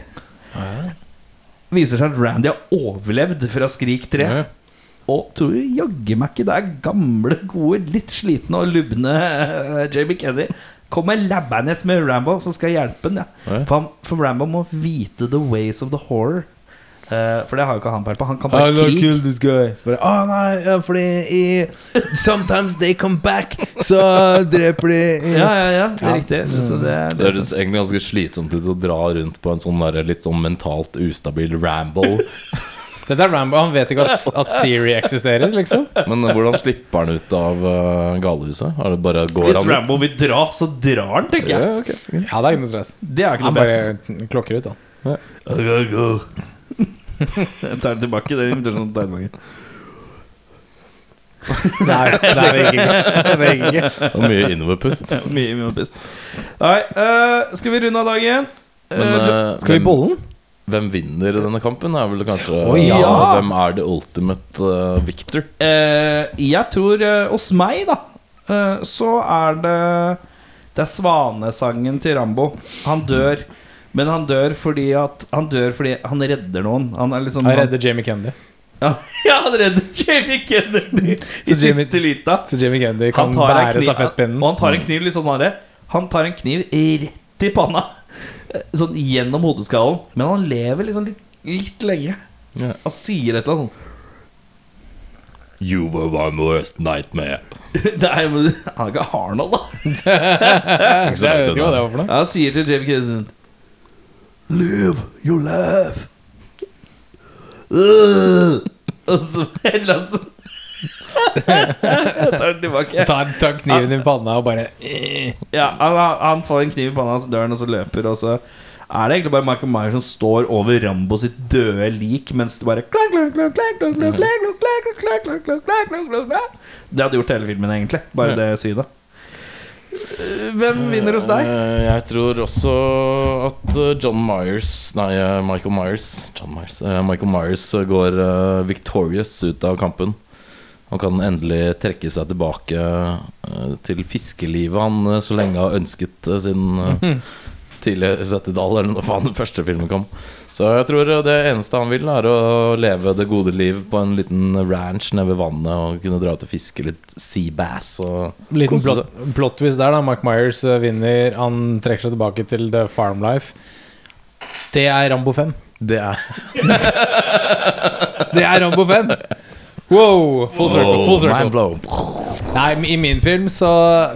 A: Viser seg at Randy har overlevd fra Skrik 3.
C: Ja.
A: Og tror du jaggu meg ikke det er gamle, gode, litt slitne og lubne eh, Jamie Kennedy kommer labbende med Rambo, som skal hjelpe ham. Ja.
C: Ja.
A: For, han- for Rambo må vite the ways of the horror. Eh, for det har jo ikke han peil på. Han kan bare krig.
D: this guy. Så bare, «Å, nei, ja, fordi i, Sometimes they come back, så dreper de i-
A: Ja, ja, ja, det er riktig. Så det, er-
C: <laughs>
A: sånn.
C: Det
A: det, er
C: høres egentlig ganske slitsomt ut å dra rundt på en sånn der, litt sånn mentalt ustabil
A: <laughs>
C: ramble.
D: Dette er Rambo. Han vet ikke at, at Siri eksisterer, liksom.
C: Men eh, hvordan slipper han ut av eh, galehuset? Er det bare går
A: Hvis
C: han ut?
A: Rambo vil dra, så drar han, tenker jeg.
C: Ja, ok, ok.
D: Ja, det er ikke noe stress.
A: Det er ikke
D: Han
A: noe best.
D: bare klokker ut, han.
A: Go, go. <laughs> Jeg tar den tilbake. Det er sånn deilig.
D: Nei, det er ikke. Det er ikke.
C: Det var mye
A: <laughs>
C: innoverpust.
A: <laughs> Ja, Mye, mye best. Nei, eh, skal vi runde av dagen? Eh,
C: Men
A: Jo-
C: eh,
D: Skal vi
C: hvem-
D: bolle den?
C: Hvem vinner denne kampen, er vel kanskje
D: Å, ja.
C: eh, Hvem er the ultimate eh, victor?
A: Eh, jeg tror eh, hos meg, da, eh, så er det Det er svanesangen til Rambo. Han
D: Mhm.
A: dør. Men han dør fordi at Han dør fordi han redder noen. Han er liksom
D: Jeg redder Jamie Kennedy.
A: Ja, <laughs> ja, han redder Jamie Kennedy i
D: <laughs> Så Jamie-
A: siste lita.
D: Så Jamie Kennedy
A: Han
D: kan
A: tar en
D: bære
A: kniv-
D: stafettpinnen. Mm.
A: Og han tar en kniv litt sånn herre. Han tar en kniv rett i panna. Eh, Sånn gjennom hodeskallen. Men han lever liksom litt, litt lenge.
C: Ja.
A: Han sier et eller annet sånn <laughs>
C: You were my worst nightmare.
A: Nei, men han er ikke Arnold, da.
D: <laughs> Jeg vet ikke hva det var for noe.
A: Ja, han sier til Jamie Kennedy sånn, Live your life Øh. <laughs> Og så et eller annet sånn Jeg tar den tilbake
D: Tar, tar kniven i panna og <laughs> bare eh.
A: ja, han, han får en kniv i panna hans døren Og så løper Og så er det egentlig bare Michael Myers som står over Rambo sitt døde lik Mens det bare klang, klang, klang, klang, klang, klang, klang, klang, klang, klang, klang, klang, klang, klang, klang, klang. Det hadde gjort hele filmen egentlig Bare det sydet Øh, Hvem vinner hos deg?
C: Eh, jeg tror også at eh, John Myers Nei, eh, Michael Myers. John Myers eh, Michael Myers eh, går eh, victorious ut av kampen. Han kan endelig trekke seg tilbake eh, til fiskelivet han eh, så lenge har ønsket eh,
A: <laughs>
C: siden eh, tidlig 70-tall, eller når faen den første filmen kom. Så jeg tror eh, det eneste han vil, er å leve det gode liv på en liten ranch nede ved vannet og kunne dra ut og fiske litt sea bass og
D: Liten
C: kose seg.
D: plot, plot-twist der, da. Mark Myers eh, vinner. Han trekker seg tilbake til The Farm Life. Det er Rambo 5.
C: Det er
D: Det er Rambo Oh, 5! <laughs> Wow! Full circle. Full
C: Oh, Mind
D: circle.
C: blown.
D: Nei, men I min film så,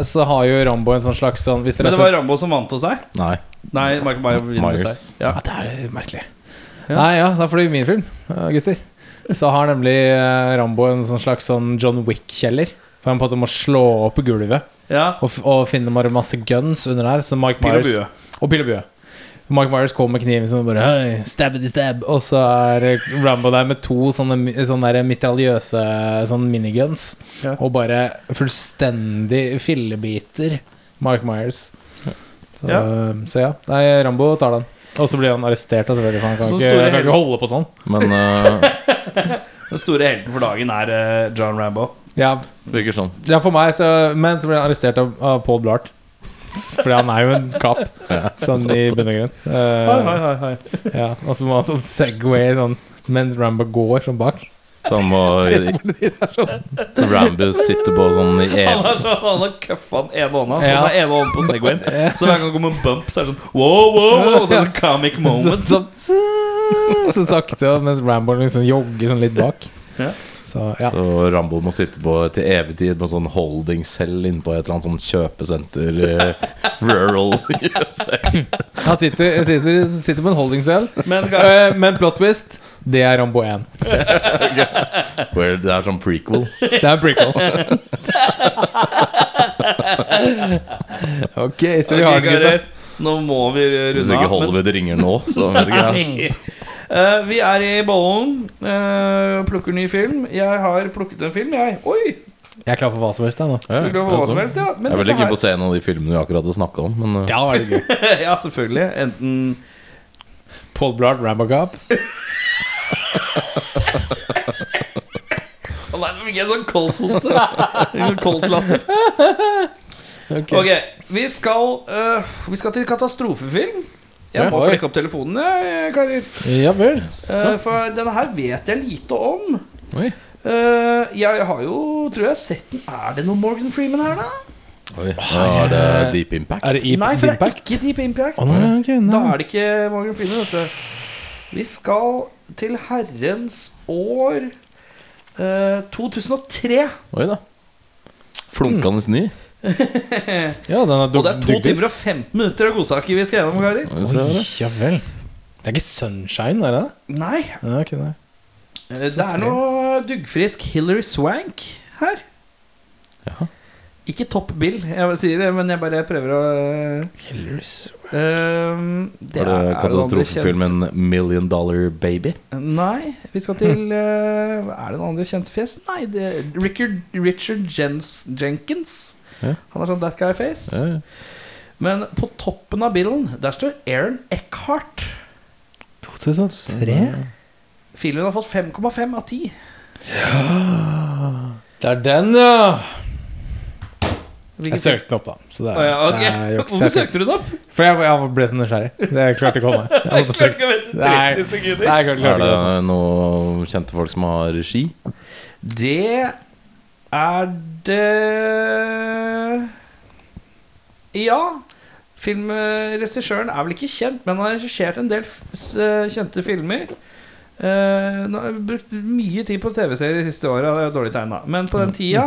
D: så har jo Rambo en sånn slags sånn Hvis dere
A: Men
D: har
A: det var Rambo som vant hos deg?
C: Nei.
A: Nei, Michael Myers vinner hos deg.
C: Myers.
A: Ja.
D: Ja, det er eh, merkelig.
A: Ja.
D: Nei, ja, det er fordi min film, eh, gutter, så har nemlig eh, Rambo en sånn slags sånn John Wick-kjeller. For han på en måte må slå opp gulvet
A: Ja.
D: og, f og finne bare masse guns under der. Så Mike
A: Pil og
D: Myers,
A: bue.
D: og pil og bue. Mike Myers kommer med kniven sin og bare Hei, stabbity stab. Og så er eh, Rambo der med to sånne, mi- sånne der mitraljøse sånn miniguns.
A: Ja.
D: Og bare fullstendig fillebiter Mike Myers. Så ja, så ja. Nei, Rambo tar den. Og så blir han arrestert, da, selvfølgelig. For han kan,
A: Så
D: ikke,
A: store
D: han kan
A: hel-
D: ikke holde på sånn.
C: Men eh, <laughs>
A: Den store helten for dagen er eh, John Rambo.
D: Ja,
C: det virker sånn.
D: ja for meg, så Men så blir han arrestert av, av Paul Blart. Fordi han er jo en kapp, sånn i bunn og grunn. Eh,
A: hei, hei.
D: Ja, og så må han sånn Segway sånn mens Rambo går sånn <laughs> bak.
C: Så han må
D: Sånn.
C: Så Rambo sitter på sånn i
A: Han
C: ev...
A: har sånn, han har køffa den ene hånda, så
D: Ja.
A: han har ene hånden på
D: <laughs>
A: Segwayen. Så hver gang det kommer en bump, så er det sånn wow, wow, wow. Og så er det en comic
D: <laughs> Så,
A: moment.
D: så, så sakte, og mens Rambo liksom jogger sånn litt bak.
A: Ja.
D: Så ja.
C: Så Rambo må sitte på til evig tid på en sånn holdingcell inne på et eller annet sånn kjøpesenter i <laughs> rural USA.
D: Han sitter, sitter, sitter på en holdingcell,
A: Men ga-
D: Eh, men plot twist, det er Rambo 1.
C: Where det er sånn prequel.
D: Det er en prequel. <laughs> Ok, så vi har
A: Ok,
D: den, gutta.
A: karer, nå må vi
C: Hvis
A: runde
C: ikke
A: av. men-
C: Hollywood ringer nå, så vet ikke jeg.
A: Nei. <laughs> Eh, vi er i bollen. eh, plukker ny film. Jeg har plukket en film, jeg. Oi!
D: Jeg er klar for hva som helst, jeg nå.
C: Ja,
A: Du
C: ja,
A: kan få hva som helst,
C: altså.
A: ja. Men
C: Jeg er veldig
A: dette
C: keen
A: her-
C: på å se en av de filmene vi akkurat har snakka om, men eh,
D: Ja, var det gøy.
A: <laughs> Ja, selvfølgelig. Enten
D: Paul Blart, Rambo Cop.
A: Å nei, nå fikk jeg sånn kolshoste. <laughs> Sånn Kolslatter.
D: Ok.
A: Ok, vi skal, øh, vi skal til katastrofefilm. Jeg må
D: Ja, oi.
A: flekke opp telefonen, jeg, karer.
D: Ja vel.
A: Eh, for denne her vet jeg lite om.
C: Oi.
A: Eh, jeg har jo, tror jeg, sett den Er det noe Morgan Freeman her, da?
C: Oi, da er det Deep Impact.
D: Er det i
A: nei, for det er
D: Impact?
A: ikke Deep Impact.
D: Å, nei, ok, nei.
A: Da er det ikke Morgan Freeman, vet du. Vi skal til herrens år eh, 2003.
C: Oi da. Flunkende ny.
D: Ja, den er
A: Og det er to timer og 15 minutter av godsaker vi skal gjennom, karer.
C: Skal vi se her, da.
D: ja vel. Det er ikke Sunshine, er det?
A: Nei,
D: Ja, ok, nei.
A: eh, det er noe duggfrisk Hillary Swank her.
C: Jaha.
A: Ikke topp bill, jeg bare sier det, men jeg bare prøver å eh, det
C: Er
A: jo
C: det
A: andre kjente-
C: katastrofefilmen 'Million Dollar Baby'?
A: Nei, vi skal
C: <laughs>
A: til eh, hva Er det noen andre kjente fjes? Nei, det Richard, Richard Jens, Jenkins.
C: Ja.
A: Han har sånn that guy face.
C: Ja, ja.
A: Men på toppen av bilen, der står Aaron Eckhart.
D: 2003?
A: Filmen har fått 5,5 av 10.
D: Det er den, ja!
A: Hvilken
D: Jeg søkte den opp, da. Så det er,
A: Å ja, ok.
D: det er jo ikke
A: Hvorfor
D: så
A: søkte du den opp?
D: For jeg, jeg ble så nysgjerrig. Det klarte ikke å holde meg. Jeg
A: <laughs>
D: måtte søke.
A: Klarte å vente
D: Nei.
A: 30 sekunder.
D: Nei, jeg klarte
C: Er
D: klarte ikke å holde meg.
C: det noen kjente folk som har ski?
A: Det er det Ja. Filmregissøren er vel ikke kjent, men han har regissert en del f- s- eh, kjente filmer. Eh, nå har jeg brukt mye tid på TV-serier de siste åra, det er dårlig tegna. Men på
D: Mm.
A: den tida,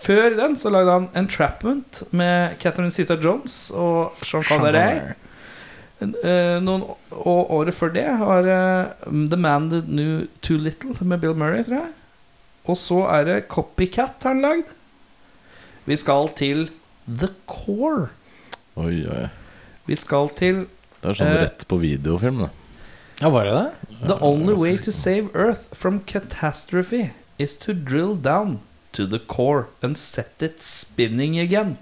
A: før den, så lagde han 'Entrapment' med Catherine Zita Jones og Jean Calderey. Eh, noen, og året før det var eh, The Man That Knew Too Little med Bill Murray, tror jeg. Og så er det Copycat han lagd. Vi skal til The Core.
C: Oi, oi.
A: Vi skal til
C: Det er sånn
A: Eh.
C: rett på videofilm, da.
D: Ja, var det det?
A: The Only Way to Save Earth from Catastrophe Is to Drill Down to the Core And Set It Spinning Again.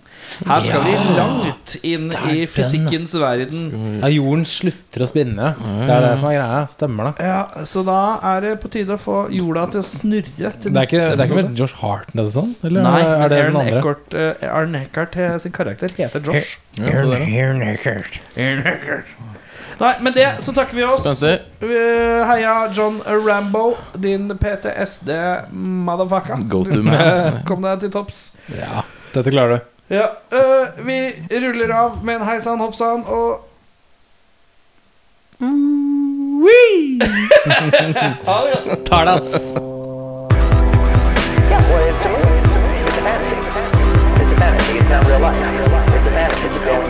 A: Her skal vi langt inn
D: det er
A: i
D: den.
A: fysikkens verden.
D: Ja, jorden slutter å spinne. Det er det som er greia. Stemmer det.
A: Ja, Så da er det på tide å få jorda til å snurre. Til
D: Det er
A: neste
D: ikke, det er ikke
A: episode.
D: med Josh Hartnett og sånn? Eller
A: Nei,
D: er det den
A: Aaron
D: andre?
A: Eckhart, eh, Aaron Eckhart eh, sin karakter heter Josh.
C: Ja, så der, ja.
A: Nei, men det, så takker vi oss.
C: Spenstig.
A: Eh, Heia John Rambo, din PTSD-motherfucker.
C: Go to man.
A: <laughs> Kom deg til topps.
D: Ja, dette klarer du.
A: Ja, eh, vi ruller av med en hei sann, hopp sann og
D: Tar det, ass.
B: Yeah, well, it's a movie. It's a movie. It's a fantasy. It's a fantasy. It's not real life. It's a fantasy to go in